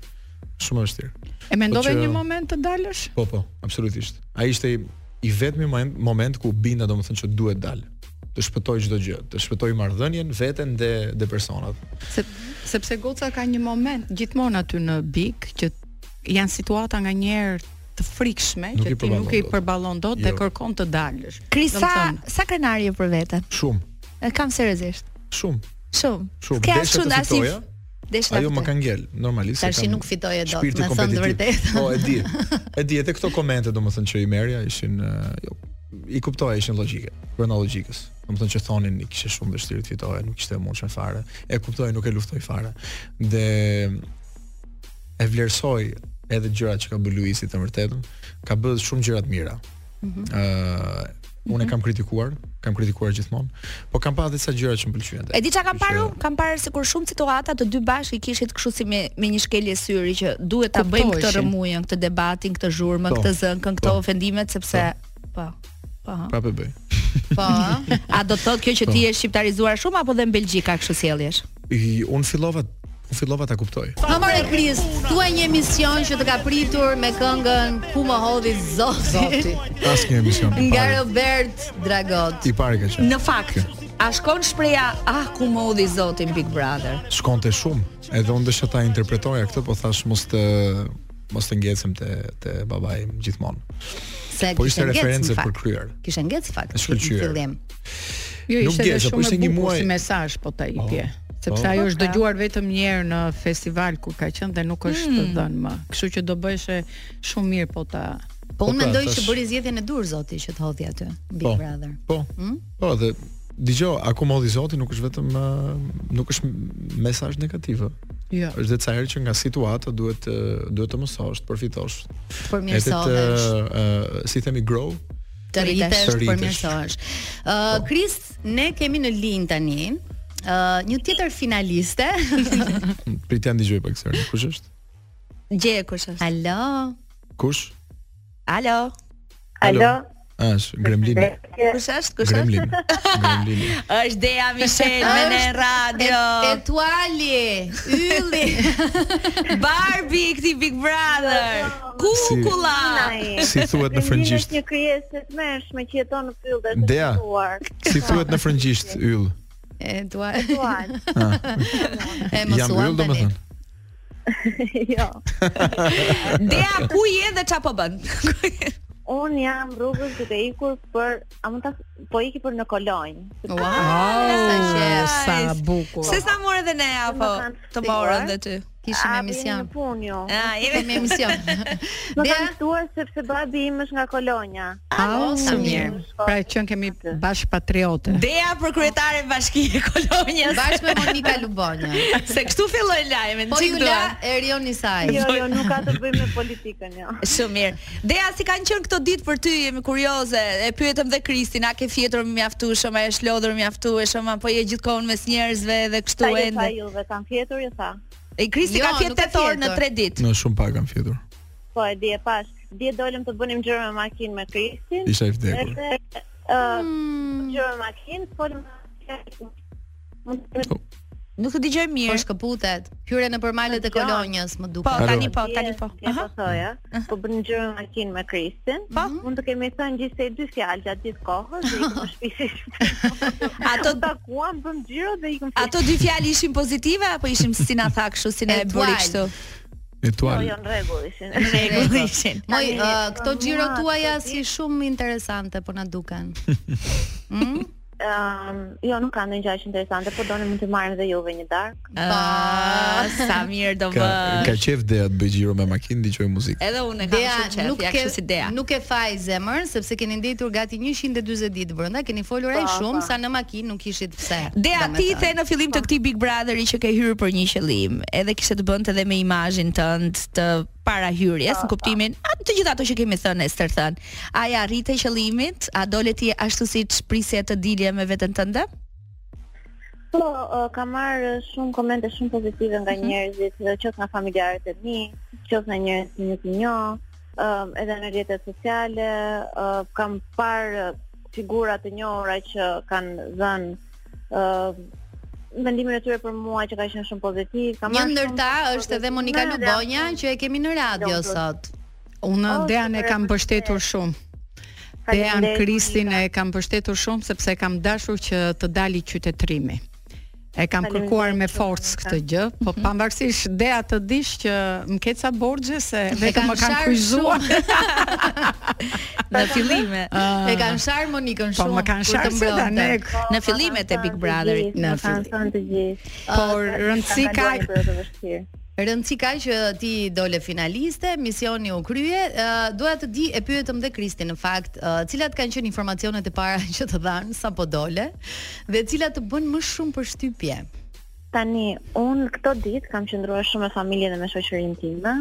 Speaker 5: Shumë e vështirë.
Speaker 4: E mendove
Speaker 5: Po që-
Speaker 4: një moment të dalësh?
Speaker 5: Po, po, absolutisht. Ai ishte i, i vetmi moment, moment ku binda domethënë që duhet dal. Të shpëtoj çdo gjë, të shpëtoj marrëdhënien, veten dhe dhe personat.
Speaker 4: Se, sepse goca ka një moment gjithmonë aty në bik që janë situata nga njerë të frikshme
Speaker 5: Nuk i
Speaker 4: që ti
Speaker 5: përballon
Speaker 4: nuk i
Speaker 5: dot.
Speaker 4: përballon dot dhe
Speaker 5: Jo.
Speaker 4: kërkon të dalësh.
Speaker 6: Krisa,
Speaker 4: Domethënë,
Speaker 6: sa krenarje për veten?
Speaker 5: Shumë,
Speaker 6: E kam seriozisht.
Speaker 5: shumë,
Speaker 6: Shumë.
Speaker 5: shumë.
Speaker 6: S'ke
Speaker 5: Desha
Speaker 6: asë
Speaker 5: të
Speaker 6: shumë as
Speaker 5: fitoja,
Speaker 6: Desha
Speaker 5: Ajo më ka ngel, normalisht. se
Speaker 1: Tash i
Speaker 5: kam
Speaker 1: nuk fitoje dot,
Speaker 5: shpirtin
Speaker 1: me thënë të
Speaker 5: kompetitiv.
Speaker 1: vërtetë.
Speaker 5: Po, e di. E di, edhe këto komente domethënë që i merja ishin ë, jo, i kuptoja ishin logjike, brenda logjikës. Domethënë që thonin i kishte shumë vështirë të fitoje, nuk ishte e mundshme fare. E kuptoj, nuk e luftoj fare. Dhe e vlerësoj edhe gjërat që ka bërë Luisi të vërtetën, ka bërë shumë gjëra të mira. Ëh,
Speaker 1: Mhm.
Speaker 5: unë e kam kritikuar, kam kritikuar gjithmonë, po kam pasur disa gjëra që më pëlqyen.
Speaker 6: E di çka kam
Speaker 5: Kështu që-
Speaker 6: parë? unë? Kam parë sikur shumë situata të dy bashkë i kishit kështu si me me një shkelje syri që duhet ta bëjmë këtë
Speaker 4: Kuptoheshin.
Speaker 6: rëmujën, këtë debatin, këtë zhurmën,
Speaker 5: Po,
Speaker 6: këtë zënkën, këto
Speaker 5: po,
Speaker 6: ofendimet sepse po. Po. ha.
Speaker 5: Prapë e bëj.
Speaker 1: Po, ë?
Speaker 6: A do të thotë kjo që ti
Speaker 5: Po.
Speaker 6: je shqiptarizuar shumë apo dhe në Belgji ka kështu sjelljesh?
Speaker 5: I- Unë fillova, unë fillova ta kuptoj.
Speaker 1: Ha more Kris, thua një emision që të ka pritur me këngën Ku më hodhi Zoti,
Speaker 5: Asnjë emision. i
Speaker 1: nga
Speaker 5: pari-
Speaker 1: Robert Dragot.
Speaker 5: I pari ka qenë.
Speaker 6: Në fakt,
Speaker 2: A shkon shpreha ah ku më udhi Zoti në Big Brother?
Speaker 5: Shkonte shumë, edhe unë desha ta interpretoja këtë, po thash mos të mos të ngjecem te te babai im gjithmonë.
Speaker 1: Se
Speaker 5: Po
Speaker 1: kishte
Speaker 5: ishte
Speaker 1: ngec
Speaker 5: referencë
Speaker 1: në
Speaker 5: për
Speaker 1: fakt.
Speaker 5: kryer.
Speaker 1: Kishte ngec fakt
Speaker 5: E shkëlqyer.
Speaker 1: fillim.
Speaker 4: Jo,
Speaker 5: Nuk
Speaker 4: ishte edhe
Speaker 5: gjese, po
Speaker 4: shumë
Speaker 5: ishte
Speaker 4: e
Speaker 5: një
Speaker 4: bukur
Speaker 5: muaj-
Speaker 4: si mesazh po ta jepje. Sepse
Speaker 5: po.
Speaker 4: ajo është dëgjuar vetëm një herë në festival kur ka qenë dhe nuk është të dhënë më. Kështu që do bëheshe shumë mirë po ta
Speaker 1: Po unë
Speaker 5: pra,
Speaker 1: mendoj që
Speaker 5: tash-
Speaker 1: bëri zgjedhjen e dur Zoti që të hodhi aty Big
Speaker 5: Po.
Speaker 1: Brother.
Speaker 5: Po. Po, dhe dëgjoj, akomodi Zoti nuk është vetëm ë, nuk është mesazh negativ. ë.
Speaker 4: jo.
Speaker 5: Është dhe ca herë që nga situata duhet ë, duhet të mësosh, të përfitosh.
Speaker 1: Të
Speaker 5: Edhe të
Speaker 1: përmirësohesh,
Speaker 5: ë, si themi grow.
Speaker 1: të rritesh,
Speaker 5: të
Speaker 1: të
Speaker 5: rritesh. Po.
Speaker 1: përmirësohesh. Ë Kris, ne kemi në linjë tani ë një tjetër finaliste.
Speaker 5: Pritem dëgjoj pak sërish. Kush është?
Speaker 6: gje kush është?
Speaker 1: Alo.
Speaker 5: Kush?
Speaker 6: Alo.
Speaker 5: Alo. Ash, Gremlini.
Speaker 6: Kush është? Kush është?
Speaker 5: Gremlini. Gremlini.
Speaker 6: Është Dea Michel me në radio.
Speaker 1: Petuali, ylli.
Speaker 6: Barbie i këtij Big Brother. Kukulla.
Speaker 5: Si thuhet në frëngjisht?
Speaker 7: Një krijesë të mëshme që jeton në pyll dhe
Speaker 5: Dea.
Speaker 7: të shkuar.
Speaker 5: Si thuhet në frëngjisht yll?
Speaker 1: Petuali.
Speaker 7: Duan.
Speaker 1: E
Speaker 5: Jam yll
Speaker 1: mosuam tani.
Speaker 5: domethënë.
Speaker 7: jo.
Speaker 6: Dea ku je dhe çfarë po bën?
Speaker 7: Un jam rrugës duke ikur për, a mund ta po iki për në Kolonjë.
Speaker 1: Wow,
Speaker 6: Sa
Speaker 1: sa qef.
Speaker 4: Sa bukur.
Speaker 6: Se sa morë dhe ne apo të morën dhe ty.
Speaker 1: Kishim
Speaker 7: A,
Speaker 1: emision.
Speaker 7: jeni në punë ju.
Speaker 6: Ah, jemi
Speaker 1: Kemi emision.
Speaker 7: Më
Speaker 1: Dea,
Speaker 7: kanë ftuar sepse babi im është nga Kolonja.
Speaker 1: au, sa mirë.
Speaker 4: Pra që kemi bashkë patriote.
Speaker 6: Dea për kryetare bashkie kolonjës.
Speaker 1: Bashkë me Monika Lubonja.
Speaker 6: Se kështu filloi lajmi.
Speaker 1: Po
Speaker 6: çik
Speaker 1: Jula
Speaker 6: duan.
Speaker 1: Erion Isaj.
Speaker 7: Jo, jo, nuk ka të bëjë me politikën, jo.
Speaker 6: Shumë mirë. Dea si kanë qenë këto ditë për ty, jemi kurioze. E pyetëm dhe Kristin, a ke fjetur mjaftueshëm, a je shlodhur mjaftueshëm, apo je gjithkohon mes njerëzve dhe kështu
Speaker 7: Sa ju sa
Speaker 6: ende.
Speaker 7: ju dhe kam fjetur, ju tha.
Speaker 6: E Kristi
Speaker 1: Jo,
Speaker 6: ka fjetur
Speaker 1: nuk e
Speaker 6: tetë orë në
Speaker 1: fjetur.
Speaker 6: 3 ditë.
Speaker 5: Në shumë pak kam fjetur.
Speaker 7: Po e di e pash. Dje dolëm të bënim gjëra me makinë me Kristin.
Speaker 5: Isha i vdekur.
Speaker 7: Edhe ë
Speaker 1: Hmm.
Speaker 7: gjëra me makinë, folëm mund të kemi
Speaker 6: Nuk të dëgjoj
Speaker 1: Po
Speaker 6: mirë.
Speaker 1: shkëputet. Hyre në përmalet e
Speaker 7: Gjon.
Speaker 1: kolonjës, më
Speaker 6: Po,
Speaker 1: duket.
Speaker 5: Alo.
Speaker 6: tani po, tani po.
Speaker 7: Dje po thoja, po bën gjëra me makinë me Kristin.
Speaker 6: Mhm.
Speaker 7: Po, mund të kemi thënë gjithsej dy fjalë gjatë gjithë kohës, dhe ikëm në shtëpi.
Speaker 6: Ato-
Speaker 7: Ato takuam, bëm xhiro dhe ikëm.
Speaker 6: Ato dy fjalë ishin pozitive apo ishin si na tha kështu si ne e
Speaker 1: Etual.
Speaker 6: bëri kështu?
Speaker 7: Po,
Speaker 5: Etual.
Speaker 7: jo në rregull ishin.
Speaker 6: Rregull ishin.
Speaker 1: Moj,
Speaker 7: Tani,
Speaker 1: ë, këto
Speaker 7: mua,
Speaker 1: xhiro
Speaker 7: këto
Speaker 1: tuaja
Speaker 7: ditë-
Speaker 1: si shumë interesante po na duken.
Speaker 7: Ëm, jo, nuk kam ndonjë gjë aq interesante, po doni mund të marrim dhe juve një darkë.
Speaker 6: Ah, sa mirë do
Speaker 5: Ka
Speaker 6: bë.
Speaker 5: ka qef dea të bëj xhiro me makinë, dëgjoj muzikë.
Speaker 6: Edhe unë e kam
Speaker 1: Dea
Speaker 6: shumë qejf,
Speaker 1: nuk
Speaker 6: ja
Speaker 1: ke
Speaker 6: kështu si Dea.
Speaker 1: nuk e faj zemër sepse keni ndjetur gati 140 ditë brenda, keni folur ai shumë sa në makinë nuk kishit pse.
Speaker 6: Po, Dea ti i
Speaker 1: domethënë.
Speaker 6: the në fillim të këtij Big Brotheri që ke hyrë për një qëllim, edhe kishte të bënte edhe me imazhin tënd të para hyrjes, në kuptimin, a, të gjitha ato që kemi thënë e stër thënë. A ja rritë qëllimit, a dole ti ashtu siç prisje të dilje me veten tënde?
Speaker 7: Po, uh, kam marrë shumë komente shumë pozitive nga njerëzit, uh, qoftë nga familjarët e mi, qoftë nga njerëz që nuk i njoh, um, edhe në rrjetet sociale, uh, kam parë uh, figura të njohura që kanë dhënë uh, mendimin e tyre për mua që ka qenë shumë pozitiv. Kam
Speaker 1: Një
Speaker 7: marrë shumë
Speaker 1: ndërta
Speaker 6: po,
Speaker 7: komente
Speaker 1: është edhe
Speaker 7: pozitive
Speaker 1: Monika
Speaker 7: dhe
Speaker 1: Lubonja
Speaker 7: aty
Speaker 1: që e kemi në radio
Speaker 7: Do të-
Speaker 1: sot.
Speaker 4: Unë
Speaker 7: Oh,
Speaker 4: Dean e
Speaker 7: super,
Speaker 4: kam
Speaker 7: e
Speaker 4: mbështetur shumë. Dean
Speaker 7: faleminderit,
Speaker 4: Kristin
Speaker 7: Monika.
Speaker 4: e kam mbështetur shumë sepse kam dashur që të dali qytetrimi. E kam
Speaker 7: Faleminderit
Speaker 4: kërkuar me
Speaker 7: shumë,
Speaker 4: forcë
Speaker 7: Monika.
Speaker 4: këtë gjë, po
Speaker 5: Mhm.
Speaker 4: pavarësisht Dea të dish që më ketë sa borxhe se vetëm më kanë
Speaker 1: sharë
Speaker 4: kryzuar.
Speaker 6: Në fillime.
Speaker 1: E kanë sharë Monikën
Speaker 4: Po
Speaker 1: shumë.
Speaker 4: më kanë
Speaker 1: kur të
Speaker 4: sharë se
Speaker 1: mbronte.
Speaker 4: tani.
Speaker 7: Po,
Speaker 6: Në
Speaker 7: ma
Speaker 6: fillimet
Speaker 7: kanë
Speaker 6: e Big
Speaker 7: thënë të
Speaker 6: Brotherit,
Speaker 7: gjithë,
Speaker 4: në
Speaker 7: ma kanë
Speaker 4: fillim.
Speaker 7: thënë të gjithë.
Speaker 4: Por rëndësi ka
Speaker 7: kanë kaluar një periudhë të vështirë.
Speaker 1: Rëndësi ka që ti dole finaliste, misioni u krye. Uh, Doja të di e pyetëm dhe Kristi në fakt, uh, cilat kanë qenë informacionet e para që të dhanë sapo dole dhe cilat të bën më shumë përshtypje.
Speaker 7: Tani, unë këto ditë kam qëndruar shumë me familjen dhe me shoqërinë time.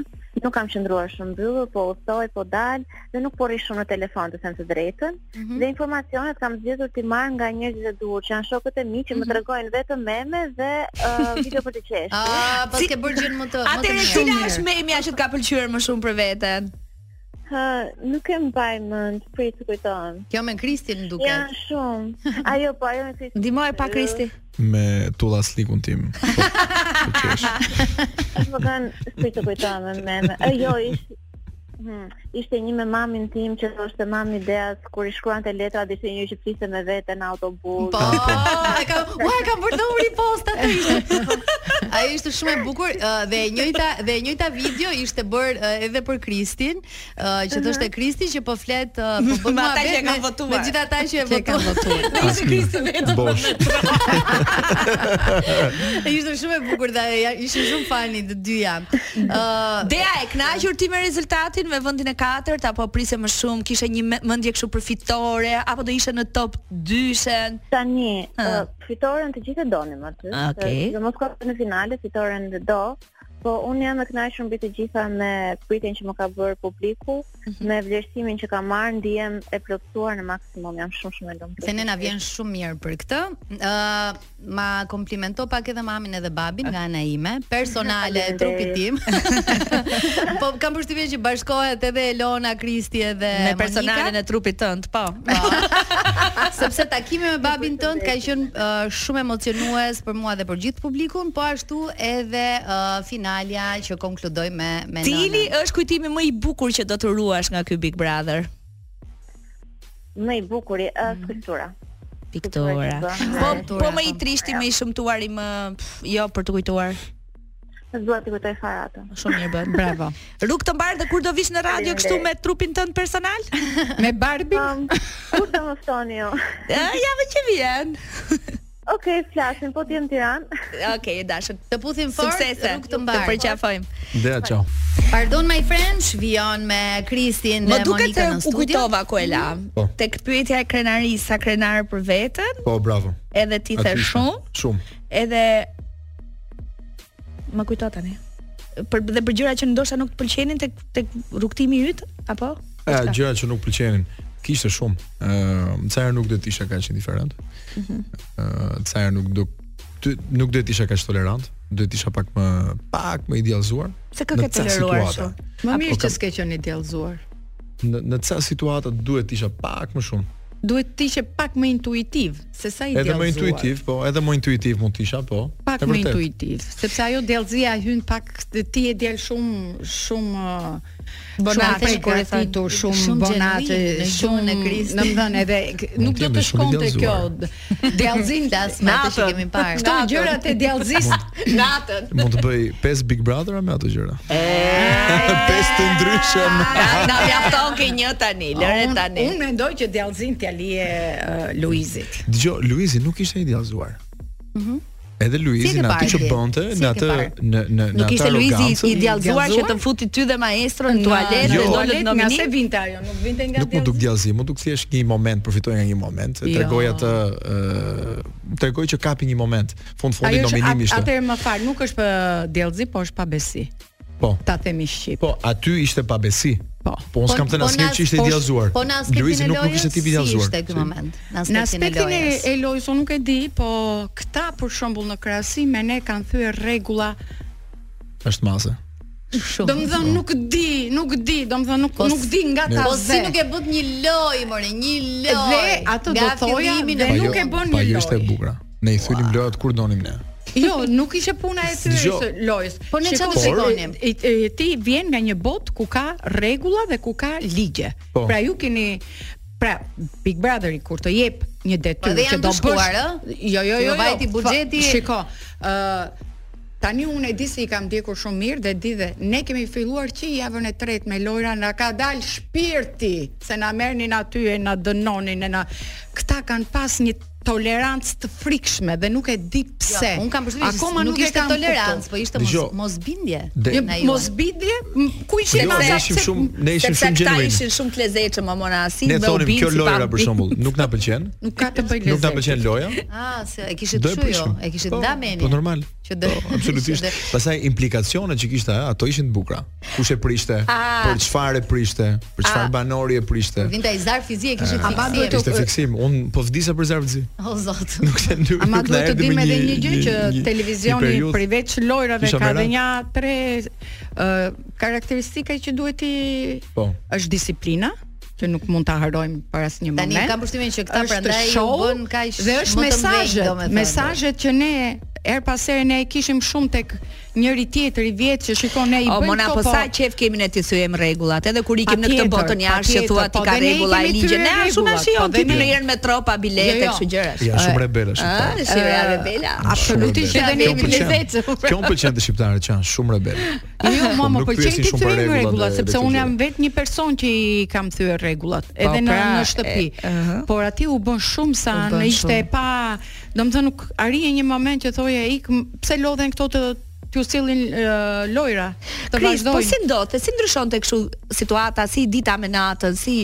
Speaker 7: Nuk kam qëndruar shumë mbyllur, po udhtoj, po dal dhe nuk po rri shumë në telefon, të them të drejtën.
Speaker 6: Mhm.
Speaker 7: Dhe informacionet kam zgjedhur ti marr nga njerëzit e duhur, që janë shokët e mi që
Speaker 6: Mhm.
Speaker 7: më tregojnë vetëm meme dhe uh, video për të qeshur.
Speaker 1: Ah, pas ke bërë gjën më të më të
Speaker 6: Atëherë
Speaker 1: mirë.
Speaker 6: cila është memja që të ka pëlqyer më shumë për veten?
Speaker 7: Hë, nuk e mbaj mend, prit të kujtohem.
Speaker 1: Kjo me Kristin duket.
Speaker 7: Janë shumë. Ajo po, ajo me Kristi.
Speaker 6: Ndihmoj pa Kristi.
Speaker 5: me tulla slikun tim. Po, po qesh.
Speaker 7: Më kanë shpejt të kujtohem me meme. E, jo, ish, Hmm, ishte një me mamin tim që thoshte mami Deas kur i shkruante letra dhe ishte një që fliste me vete në autobus.
Speaker 1: Po, e kam, ua, e kam bërë numrin post atë ishte. Ai ishte shumë e bukur ë, dhe e njëjta dhe e njëjta video ishte bër edhe për Kristin, ë, që thoshte Kristi që po flet ë, po bën
Speaker 6: Me ata
Speaker 1: muhabet
Speaker 6: që e kanë votuar.
Speaker 1: Me gjithë ata që e
Speaker 4: Që e kanë
Speaker 1: votuan.
Speaker 4: votuar.
Speaker 5: Asnjë. Bosh.
Speaker 1: ishte shumë e bukur dhe ja- ishin shumë fani të dyja. ë
Speaker 6: Dea e kënaqur ti me rezultatin me vendin e katërt apo priste më shumë, kishe një me- mendje kështu përfitore apo do ishe në top 2-shen?
Speaker 7: Tani,
Speaker 6: Ah.
Speaker 7: uh, fitoren të gjithë e donim aty.
Speaker 6: Okej.
Speaker 7: Dhe mos ka në finale, fitoren dhe do. Po unë jam e kënaqur mbi të gjitha me pritjen që më ka bërë publiku,
Speaker 1: Mhm.
Speaker 7: me vlerësimin që ka marrë, ndihem e plotësuar në maksimum, jam shumë shumë e lumtur.
Speaker 1: Se ne na vjen shumë mirë për këtë. Ë ma komplimento pak edhe mamin edhe babin nga ana ime, personale e trupit tim. po kam përshtypjen që bashkohet edhe Elona, Kristi edhe
Speaker 6: Me
Speaker 1: Monika.
Speaker 6: personalin e trupit tënd, po.
Speaker 1: sepse takimi me babin tënd ka qenë uh, shumë emocionues për mua dhe për gjithë publikun, po ashtu edhe uh, finalja që konkludoi me me
Speaker 6: Cili është kujtimi më i bukur që do të ruash nga ky Big Brother?
Speaker 7: Më i bukuri është
Speaker 1: Mhm.
Speaker 7: skulptura.
Speaker 6: Piktura. Po, po më i trishti, më i shëmtuari, më pff, jo për të kujtuar.
Speaker 7: Nuk dua të kujtoj fare atë.
Speaker 6: Shumë mirë bën.
Speaker 4: Bravo.
Speaker 6: Ruk të mbar dhe kur do vish në radio kështu me trupin tënd personal?
Speaker 4: Me Barbie
Speaker 7: Um, kur të më ftoni ju?
Speaker 6: Ë, javën që vjen.
Speaker 7: Okej, flasim, po të jem Tiranë.
Speaker 6: Okej, e dashur.
Speaker 1: Të puthim fort,
Speaker 6: Suksese.
Speaker 1: rrugë të mbar.
Speaker 6: Të përqafojmë.
Speaker 5: Dea, ciao.
Speaker 1: Pardon my friend, vion me Kristin
Speaker 6: Më
Speaker 1: dhe
Speaker 6: duket
Speaker 1: Monika
Speaker 6: se
Speaker 1: në
Speaker 6: u
Speaker 1: studio.
Speaker 6: kujtova ku e la.
Speaker 2: Mhm.
Speaker 5: Po.
Speaker 6: Tek pyetja e krenarisë, sa krenar për veten,
Speaker 5: Po, bravo.
Speaker 6: edhe ti the
Speaker 5: Aty ishte.
Speaker 6: shumë,
Speaker 5: Shumë.
Speaker 6: edhe më kujto tani. Për dhe për gjëra që ndoshta nuk të pëlqenin tek tek rrugtimi yt, apo?
Speaker 5: E, gjëra që nuk pëlqenin. Kishte shumë. Ëm, ca herë nuk do të isha kaq indiferent.
Speaker 6: Mhm.
Speaker 5: Ëm, ca herë nuk do ty- nuk do të isha kaq tolerant, do të isha pak më pak më idealizuar.
Speaker 6: Se kë
Speaker 5: Në
Speaker 6: ke
Speaker 5: ca
Speaker 6: toleruar
Speaker 5: situata.
Speaker 6: kështu?
Speaker 4: Më mirë
Speaker 5: po
Speaker 4: që
Speaker 5: kam-
Speaker 4: s'ke qenë idealzuar.
Speaker 5: Në në ca situata duhet të isha pak më shumë.
Speaker 4: Duhet të ishe pak më intuitiv se sa idealzuar.
Speaker 5: Edhe më intuitiv, po, edhe më intuitiv mund të isha, po.
Speaker 4: pak
Speaker 5: e
Speaker 4: më
Speaker 5: vërtet.
Speaker 4: intuitiv, sepse ajo dellëzia hyn pak dhe ti e del shumë shumë ë,
Speaker 1: Bonate,
Speaker 4: shumë
Speaker 1: kur e thon.
Speaker 4: përgratitur, shumë,
Speaker 1: Shumë
Speaker 4: bonate,
Speaker 1: genuin në gjuhën
Speaker 4: shumë
Speaker 1: e Kristit.
Speaker 4: Në më thënë edhe nuk do
Speaker 5: jemi
Speaker 4: të
Speaker 5: shumë
Speaker 4: shkonte kjo
Speaker 5: idealzuar.
Speaker 4: dellëzim
Speaker 1: Flas me atë që kemi parë.
Speaker 4: Këto gjërat e dellëzisë
Speaker 6: Natën.
Speaker 5: Mund të bëj 5 Big Brother me ato gjëra. 5 të ndryshëm.
Speaker 2: Ah,
Speaker 6: Na mjafton ke një tani, lëre
Speaker 4: unë
Speaker 6: tani.
Speaker 4: unë mendoj që dellëzin t'ia lije ë, uh, Luizit.
Speaker 5: Dgjoj, Luizi nuk ishte idealizuar. Mhm. Edhe Luizi
Speaker 1: Si e ke
Speaker 5: në atë
Speaker 1: parë
Speaker 5: që
Speaker 1: ti?
Speaker 5: bënte,
Speaker 1: Si
Speaker 5: në
Speaker 1: e ke
Speaker 5: atë
Speaker 1: parë?
Speaker 5: në në në
Speaker 6: Nuk
Speaker 5: atë
Speaker 6: ishte Luizi
Speaker 5: arogancë,
Speaker 6: i idealzuar që të futi ty dhe maestron në
Speaker 5: Jo.
Speaker 6: tualet dhe
Speaker 5: tualet
Speaker 6: dolët
Speaker 4: Nga se
Speaker 6: nominim.
Speaker 4: vinte ajo, nuk vinte nga
Speaker 5: Nuk mund duk
Speaker 4: dellëzimi.
Speaker 5: djallëzi, mund duk thjesht një moment, përfitoj nga një moment, e
Speaker 4: Jo.
Speaker 5: tregoj atë, ë, tregoj që kapi një moment. Fund fundi
Speaker 4: Ajo
Speaker 5: nominimi
Speaker 4: është
Speaker 5: ishte.
Speaker 4: atëherë më fal, nuk është për dellëzi, po është pa besi.
Speaker 5: Po.
Speaker 4: ta themi shqip.
Speaker 5: Po, aty ishte pabesi.
Speaker 4: Po.
Speaker 5: Po unë s'kam thënë asnjë që ishte
Speaker 1: po-
Speaker 5: idealizuar.
Speaker 1: Po në aspektin
Speaker 5: Luizi
Speaker 1: e
Speaker 5: nuk
Speaker 1: lojës.
Speaker 5: nuk ishte tipi
Speaker 1: Si
Speaker 5: idealizuar.
Speaker 1: ishte ky moment?
Speaker 4: Në aspektin e, e lojës unë nuk e di, po këta për shembull në krahasim me ne kanë thyer rregulla.
Speaker 5: Është mase.
Speaker 1: shumë.
Speaker 4: Domethënë nuk di, nuk di, domethënë nuk
Speaker 1: Po s-
Speaker 4: nuk di nga ta.
Speaker 1: Po si
Speaker 4: dhe.
Speaker 1: nuk e bët një loj, more, një loj.
Speaker 4: Dhe ato do thoja dhe
Speaker 5: Pa
Speaker 4: nuk
Speaker 5: jo-
Speaker 4: e bën
Speaker 5: pa
Speaker 4: një loj.
Speaker 5: jo ishte e bukur. Ne i thyelim lojat kur donim ne.
Speaker 4: Jo, nuk ishte puna e tyre
Speaker 5: Dgjoj.
Speaker 4: së lojës.
Speaker 1: Po ne
Speaker 4: Shiko,
Speaker 1: çfarë do shikonim?
Speaker 4: i- i- Ti vjen nga një botë ku ka rregulla dhe ku ka ligje.
Speaker 5: Po.
Speaker 4: Pra ju keni pra Big Brotheri kur të jep një
Speaker 1: Po
Speaker 4: detyrë
Speaker 1: dhe janë
Speaker 4: që do
Speaker 1: të shkuar,
Speaker 4: bësh.
Speaker 1: ë?
Speaker 4: Jo, jo,
Speaker 1: Ti
Speaker 4: jo.
Speaker 1: u vajti
Speaker 4: jo.
Speaker 1: buxheti.
Speaker 4: Fa- Shiko, ë Tani unë e di se i kam ndjekur shumë mirë dhe di dhe ne kemi filluar që javën e tretë me lojra na ka dal shpirti se na merrnin aty e na dënonin e na këta kanë pas një tolerancë të frikshme dhe nuk e di pse.
Speaker 1: Un kam përshtypjen se
Speaker 4: Akoma
Speaker 1: nuk
Speaker 4: e
Speaker 1: ishte
Speaker 4: kam
Speaker 1: tolerancë, po
Speaker 4: kuptuar.
Speaker 1: ishte
Speaker 5: Dgjo.
Speaker 1: mos mosbindje.
Speaker 5: Dhe-
Speaker 1: na
Speaker 4: Jo,
Speaker 1: juaj.
Speaker 4: mos bidje, m- ku
Speaker 5: Po
Speaker 4: ishte
Speaker 5: jo, ne
Speaker 4: masa
Speaker 5: ishim
Speaker 4: pse-
Speaker 5: shumë ne ishim
Speaker 2: sepse
Speaker 5: shumë
Speaker 2: këta
Speaker 5: gjenuin.
Speaker 2: ishin shumë të lezetshëm më monasi
Speaker 5: Ne
Speaker 2: me u
Speaker 5: thonim
Speaker 2: binë
Speaker 5: kjo
Speaker 2: si
Speaker 5: lojra
Speaker 2: pa-
Speaker 5: për shembull, nuk na pëlqen.
Speaker 4: Nuk ka të bëj
Speaker 5: Nuk na
Speaker 4: lezet.
Speaker 5: pëlqen loja.
Speaker 1: Ah, se e kishit
Speaker 5: Do e
Speaker 1: kështu jo,
Speaker 5: prishim.
Speaker 1: e kishit
Speaker 5: Po,
Speaker 1: damenin.
Speaker 5: Po normal.
Speaker 1: Që do-
Speaker 5: do absolutisht.
Speaker 1: që do-
Speaker 5: Pastaj implikacionet që kishte ajo, ato ishin të bukura. Kush e prishte, për çfarë e prishte, për çfarë banori e prishte.
Speaker 1: Vinte ai zarf fizi e kishit
Speaker 4: Ama
Speaker 1: fiksim.
Speaker 4: duhet të-
Speaker 5: Ishte fiksim. Un po vdisa për zarfzi.
Speaker 1: O zot.
Speaker 5: Nuk se nuk.
Speaker 4: Ama
Speaker 5: nuk na
Speaker 4: duhet të
Speaker 5: erdhi me
Speaker 4: dim edhe një gjë që
Speaker 5: një- një
Speaker 4: televizioni
Speaker 5: periudhë.
Speaker 4: përveç lojrave
Speaker 5: Kisha
Speaker 4: ka
Speaker 5: me
Speaker 4: edhe
Speaker 5: radhë.
Speaker 4: një tre ë karakteristika që duhet i
Speaker 5: Po.
Speaker 4: është disiplina që nuk mund ta harojmë për asnjë
Speaker 1: Tani
Speaker 4: moment.
Speaker 1: kam përshtymin që këta
Speaker 4: Është
Speaker 1: prandaj u
Speaker 4: show
Speaker 1: bën kaq
Speaker 4: dhe është
Speaker 1: më të mdhenjë,
Speaker 4: mesazhet,
Speaker 1: domethënë.
Speaker 4: mesazhet që ne er pas here ne e kishim shumë tek njëri tjetri vjet që shikon ne i
Speaker 2: O
Speaker 4: bëjmë
Speaker 2: mona
Speaker 4: këto,
Speaker 2: po sa qef kemi ne ti thyejm rregullat, edhe kur ikim në këtë
Speaker 4: Patjetër,
Speaker 2: botën jashtë që
Speaker 4: patjetër,
Speaker 2: thua ti
Speaker 4: po,
Speaker 2: ka
Speaker 4: dhe ne i
Speaker 2: rregulla e
Speaker 4: kemi
Speaker 2: ligje.
Speaker 4: thyer
Speaker 2: Ne ashtu na
Speaker 4: rregullat,
Speaker 2: shijon
Speaker 4: po,
Speaker 2: ti
Speaker 4: dhe ne-
Speaker 2: në herë me tropa, bilete,
Speaker 4: Jo, jo.
Speaker 2: kështu gjërash.
Speaker 5: Ja shumë rebelësh.
Speaker 2: Ah,
Speaker 5: shqiptarët.
Speaker 2: shira
Speaker 4: Ë,
Speaker 2: rebela.
Speaker 4: Absolutisht
Speaker 5: Shumë
Speaker 4: edhe ne
Speaker 5: rebel.
Speaker 4: jemi
Speaker 5: Kjo m'pëlqen.
Speaker 4: lezet.
Speaker 5: Kjo më pëlqen të shqiptarët që janë shumë rebel.
Speaker 4: Jo, mua
Speaker 5: Po,
Speaker 4: më
Speaker 5: nuk
Speaker 4: pëlqen
Speaker 5: pyesin
Speaker 4: ti
Speaker 5: shumë
Speaker 4: të
Speaker 5: për
Speaker 4: rregullat,
Speaker 5: rregullat
Speaker 4: rregullat
Speaker 5: dhe-
Speaker 4: sepse
Speaker 5: dhe këto
Speaker 4: unë
Speaker 5: gjëra.
Speaker 4: jam vetë një person që i kam thyer rregullat, edhe në
Speaker 2: pra,
Speaker 4: në shtëpi.
Speaker 2: e, ëhë.
Speaker 4: Por aty u bën shumë sa
Speaker 2: U bën
Speaker 4: në ishte
Speaker 2: shumë.
Speaker 4: e pa, domethënë nuk arrije një moment që thoje ik m- pse lodhen këto të t'ju sillin ë, lojra, të
Speaker 2: Kris, po
Speaker 4: vazhdojnë.
Speaker 2: si ndodhte, si ndryshonte kështu situata, si dita me natën, si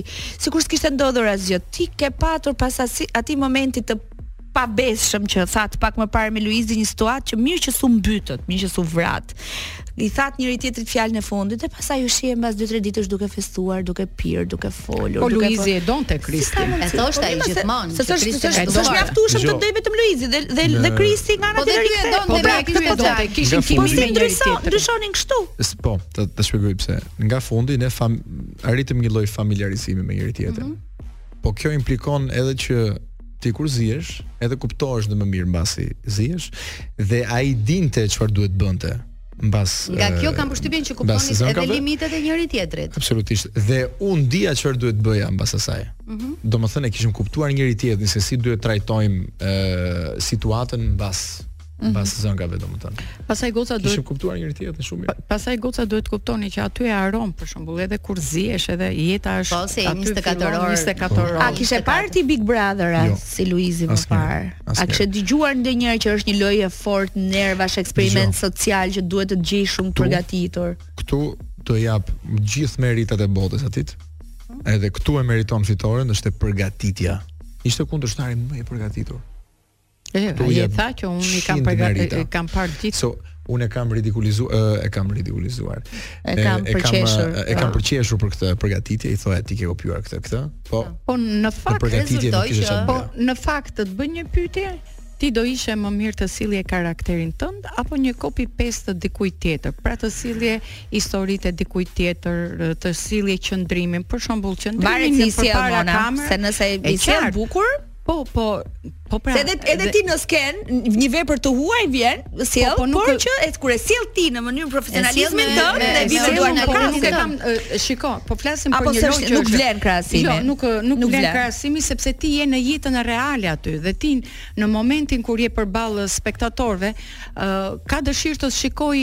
Speaker 2: sikur s'kishte ndodhur asgjë. Ti ke patur pas asi, atij momenti të pabesshëm që that pak më parë me Luizi një situatë që mirë që su mbytët, mirë që su vrat. I that njëri tjetrit fjalën e fundit dhe pastaj u shihem mbas 2-3 ditësh duke festuar, duke pirë, duka folur,
Speaker 4: Po
Speaker 2: duke
Speaker 4: Luizi e donte Kristin.
Speaker 1: E thoshte ai
Speaker 2: Po, mirë, se-
Speaker 1: gjithmonë,
Speaker 2: Se
Speaker 1: që
Speaker 2: thosh,
Speaker 1: Kristi
Speaker 2: thosh,
Speaker 1: është
Speaker 2: thosh
Speaker 1: duar.
Speaker 2: mjaftueshëm të
Speaker 5: Dgjoj.
Speaker 2: doj vetëm Luizi dhe dhe, dhe
Speaker 5: Në-
Speaker 2: Kristi nga ana
Speaker 1: Po dhe
Speaker 2: tjetër
Speaker 1: ky e
Speaker 2: i
Speaker 1: donte,
Speaker 2: kthe.
Speaker 4: Po
Speaker 1: Dhe
Speaker 4: pra,
Speaker 1: ne
Speaker 4: ky
Speaker 1: kishte
Speaker 4: e donte,
Speaker 1: qartë.
Speaker 4: kishin
Speaker 5: Nga
Speaker 2: Po
Speaker 4: timin
Speaker 2: si
Speaker 4: me njëri
Speaker 2: ndryshon,
Speaker 4: tjetrin.
Speaker 2: ndryshonin kështu?
Speaker 5: S- Po, të, të shpjegoj pse. Nga fundi ne fam, arritëm një lloj familjarizimi me njëri tjetrin.
Speaker 1: Mhm.
Speaker 5: Po kjo implikon edhe që ti kur zihesh, edhe kuptohesh në më mirë mbasi zihesh dhe ai dinte çfarë duhet bënte mbas
Speaker 1: Nga kjo
Speaker 5: e,
Speaker 1: kam përshtypjen që
Speaker 5: mbas
Speaker 1: kuptoni edhe
Speaker 5: sezonkave.
Speaker 1: limitet e njëri tjetrit.
Speaker 5: Absolutisht. Dhe unë dija çfarë duhet bëja mbas asaj. Mm
Speaker 1: Mhm.
Speaker 5: -hmm. Domethënë e kishim kuptuar njëri tjetrin se si duhet trajtojmë ë situatën mbas
Speaker 1: Mhm.
Speaker 5: mbas zëngave domethënë.
Speaker 4: Pastaj goca duhet
Speaker 5: Kishim kuptuar njëri tjetrin shumë mirë.
Speaker 4: Pastaj goca duhet kuptoni që aty e haron për shembull edhe kur zihesh edhe jeta është
Speaker 1: Po, se jemi
Speaker 4: aty
Speaker 1: 24
Speaker 4: fillon
Speaker 1: orë.
Speaker 4: 24 orë.
Speaker 2: A kishe parë ti Big Brother a,
Speaker 1: Pra,
Speaker 5: Jo.
Speaker 2: si Luizi më
Speaker 5: Asnjëherë,
Speaker 2: parë? A
Speaker 5: asnjëherë.
Speaker 2: kishe dëgjuar ndonjëherë që është një lojë e fortë nervash, eksperiment social që duhet të gjej shumë të përgatitur?
Speaker 5: Këtu të jap gjithë meritat e botës atit. Edhe këtu e meriton fitoren, është e përgatitja. Ishte kundërshtari më i përgatitur.
Speaker 4: E,
Speaker 5: Tu
Speaker 4: ai e
Speaker 5: jep
Speaker 4: tha që unë i kam
Speaker 5: 100 merita.
Speaker 4: përgatitur, kam parë gjithë.
Speaker 5: So, unë e kam ridikulizuar, e kam ridikulizuar.
Speaker 2: E kam përqeshur.
Speaker 5: E, e kam përqeshur për këtë përgatitje, i thoya ti ke kopjuar këtë këtë. Po,
Speaker 4: Po në
Speaker 5: në
Speaker 4: fakt
Speaker 1: rezultoi
Speaker 5: përgatitje nuk ishte
Speaker 1: që-
Speaker 5: çfarë.
Speaker 4: Po
Speaker 5: Po,
Speaker 4: në fakt të të bëj një pyetje, ti do ishe më mirë të sillje karakterin tënd apo një copy paste të dikujt tjetër? Pra të sillje historitë e dikujt tjetër, të sillje qëndrimin, për shembull
Speaker 2: Varet si
Speaker 4: qëndrimin në
Speaker 2: sjell
Speaker 4: përpara
Speaker 2: mona, se
Speaker 4: kamerës.
Speaker 2: nëse
Speaker 4: e
Speaker 2: i sjell
Speaker 4: qartë.
Speaker 2: bukur,
Speaker 4: Po, po, po pra.
Speaker 2: se edhe edhe ti në sken, një vepër të huaj vjen, sjell,
Speaker 4: po, nuk
Speaker 2: por
Speaker 4: e-
Speaker 2: që e kur e sjell ti në mënyrë
Speaker 1: me-
Speaker 2: profesionalizmin tënd
Speaker 1: me-
Speaker 2: dhe
Speaker 1: e
Speaker 4: Vi
Speaker 2: vi me
Speaker 1: sjell
Speaker 2: duar
Speaker 1: me
Speaker 2: në
Speaker 4: po,
Speaker 1: profesionalizmin
Speaker 4: nuk e
Speaker 2: krasë.
Speaker 4: kam e, shiko, po flasim
Speaker 2: Apo
Speaker 4: për një
Speaker 2: s'është-
Speaker 4: lojë që
Speaker 2: nuk
Speaker 4: është-
Speaker 2: vlen krahasimi.
Speaker 4: Jo, nuk nuk,
Speaker 2: Nuk
Speaker 4: vlen
Speaker 2: vlen.
Speaker 4: krahasimi sepse ti je në jetën reale aty dhe ti në momentin kur je përballë spektatorëve, ë, ka dëshirë të shikoj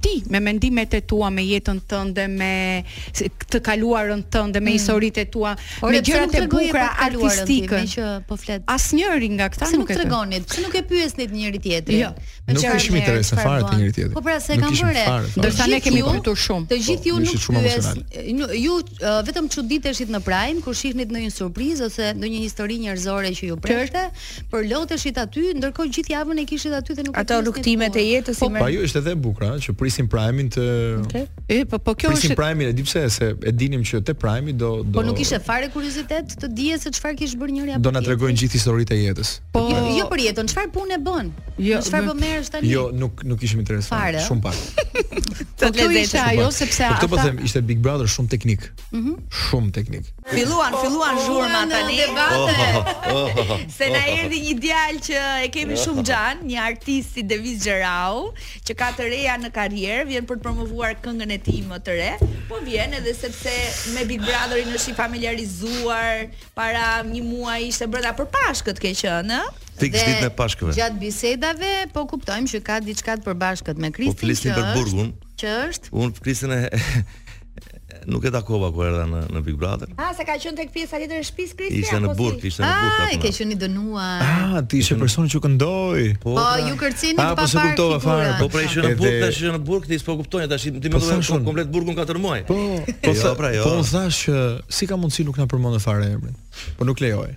Speaker 4: ti me mendimet e tua me jetën tënde me se- të kaluarën tënde me historitë e tua
Speaker 1: Por
Speaker 4: me
Speaker 1: pse
Speaker 4: gjërat
Speaker 1: nuk
Speaker 4: e
Speaker 1: tregoi
Speaker 4: bukura
Speaker 1: për kaluarën
Speaker 4: artistike
Speaker 1: time që po flet.
Speaker 4: asnjëri nga këta
Speaker 1: Pse
Speaker 4: nuk
Speaker 1: nuk
Speaker 4: e thon.
Speaker 1: tregonit? Pse nuk e pyesnit njëri tjetrin?
Speaker 4: Jo.
Speaker 1: Me
Speaker 5: Nuk
Speaker 1: çfarë
Speaker 5: kishim
Speaker 1: merr,
Speaker 5: interese
Speaker 1: çfarë
Speaker 5: fare të
Speaker 1: bën?
Speaker 5: njëri tjetrit.
Speaker 1: Po pra se
Speaker 5: Nuk
Speaker 1: kam
Speaker 5: kishim
Speaker 1: bërë.
Speaker 5: fare, fare.
Speaker 4: Ndërsa ne
Speaker 1: Gjithë
Speaker 4: kemi
Speaker 1: ju-
Speaker 4: kuptuar shumë.
Speaker 1: Të gjithë ju
Speaker 5: ju
Speaker 1: nuk
Speaker 5: ishit shumë
Speaker 1: pyes,
Speaker 5: emocional.
Speaker 1: ju- ju uh, vetëm çuditeshit në Prime kur shihnit ndonjë surprizë ose ndonjë histori njerëzore që ju prerte, por loteshit aty, ndërkohë gjithë javën e kishit aty dhe nuk e
Speaker 2: Ato
Speaker 1: pyesnit
Speaker 2: rrugtimet
Speaker 1: kur.
Speaker 6: Po,
Speaker 2: e jetës
Speaker 5: Po ajo Po, ishte edhe e bukur, ëh, që prisim primin të
Speaker 1: Okej.
Speaker 4: E po po kjo
Speaker 5: prisim pra
Speaker 4: është
Speaker 5: primin, e di pse se e dinim që te primi do do
Speaker 1: Po nuk ishte fare kuriozitet të dije se çfarë kish bërë njëri apo
Speaker 5: do na
Speaker 1: tjetri?
Speaker 5: tregojnë gjithë historitë e jetës.
Speaker 4: po
Speaker 1: Jo, jo për jetën, çfarë punë e bën?
Speaker 4: Jo,
Speaker 1: Në çfarë
Speaker 4: bë-
Speaker 1: po merresh tani?
Speaker 5: Jo, nuk nuk ishim interesuar,
Speaker 1: Fare.
Speaker 5: shumë pak.
Speaker 4: po kjo ishte ajo sepse
Speaker 5: Po këtë po
Speaker 4: ata-
Speaker 5: them, ishte Big Brother shumë teknik. Shumë teknik.
Speaker 6: Filluan, filluan zhurma
Speaker 1: Në
Speaker 6: tani. Oh,
Speaker 1: debate.
Speaker 6: Se na erdhi një djalë që e kemi shumë xhan, një artist si Devis Gjerau, që ka të reja në karrierë, vjen për të promovuar këngën e tij më të re, po vjen edhe sepse me Big Brotherin është i familiarizuar, para një muaji ishte brenda për Pashkët ke qenë, ë?
Speaker 8: Fik
Speaker 1: Dhe
Speaker 8: ditën e Pashkëve.
Speaker 1: Gjatë bisedave po kuptojmë që ka diçka të përbashkët me
Speaker 8: Po
Speaker 1: Kristin.
Speaker 8: flisni
Speaker 1: që
Speaker 8: për
Speaker 1: është-
Speaker 8: burgun.
Speaker 1: Që është
Speaker 8: Unë Kristin e nuk e takova kur erdha në në Big Brother.
Speaker 6: Ah, se ka qenë tek pjesa tjetër e shtëpisë Kristi
Speaker 8: Ishte në burg, ishte në
Speaker 1: Ah, e
Speaker 8: burg. atë
Speaker 1: ke
Speaker 8: moment.
Speaker 1: qenë i dënuar.
Speaker 5: Ah, ti ishe personi që këndoi.
Speaker 8: Po,
Speaker 1: Po
Speaker 8: pra.
Speaker 1: ju kërcini
Speaker 5: Ah,
Speaker 1: pa
Speaker 5: po se
Speaker 1: parë
Speaker 5: kuptova fare,
Speaker 8: Po pra ishte në
Speaker 5: Edhe-
Speaker 8: burg, tash ishte në burg, ti s'po kuptoni tash ti më duhet
Speaker 5: thashun.
Speaker 8: komplet burgun katër muaj.
Speaker 5: Po, po,
Speaker 8: Jo,
Speaker 5: tha,
Speaker 8: pra, jo.
Speaker 5: po unë thash që si ka mundësi nuk na përmendë fare emrin. Po nuk lejoj.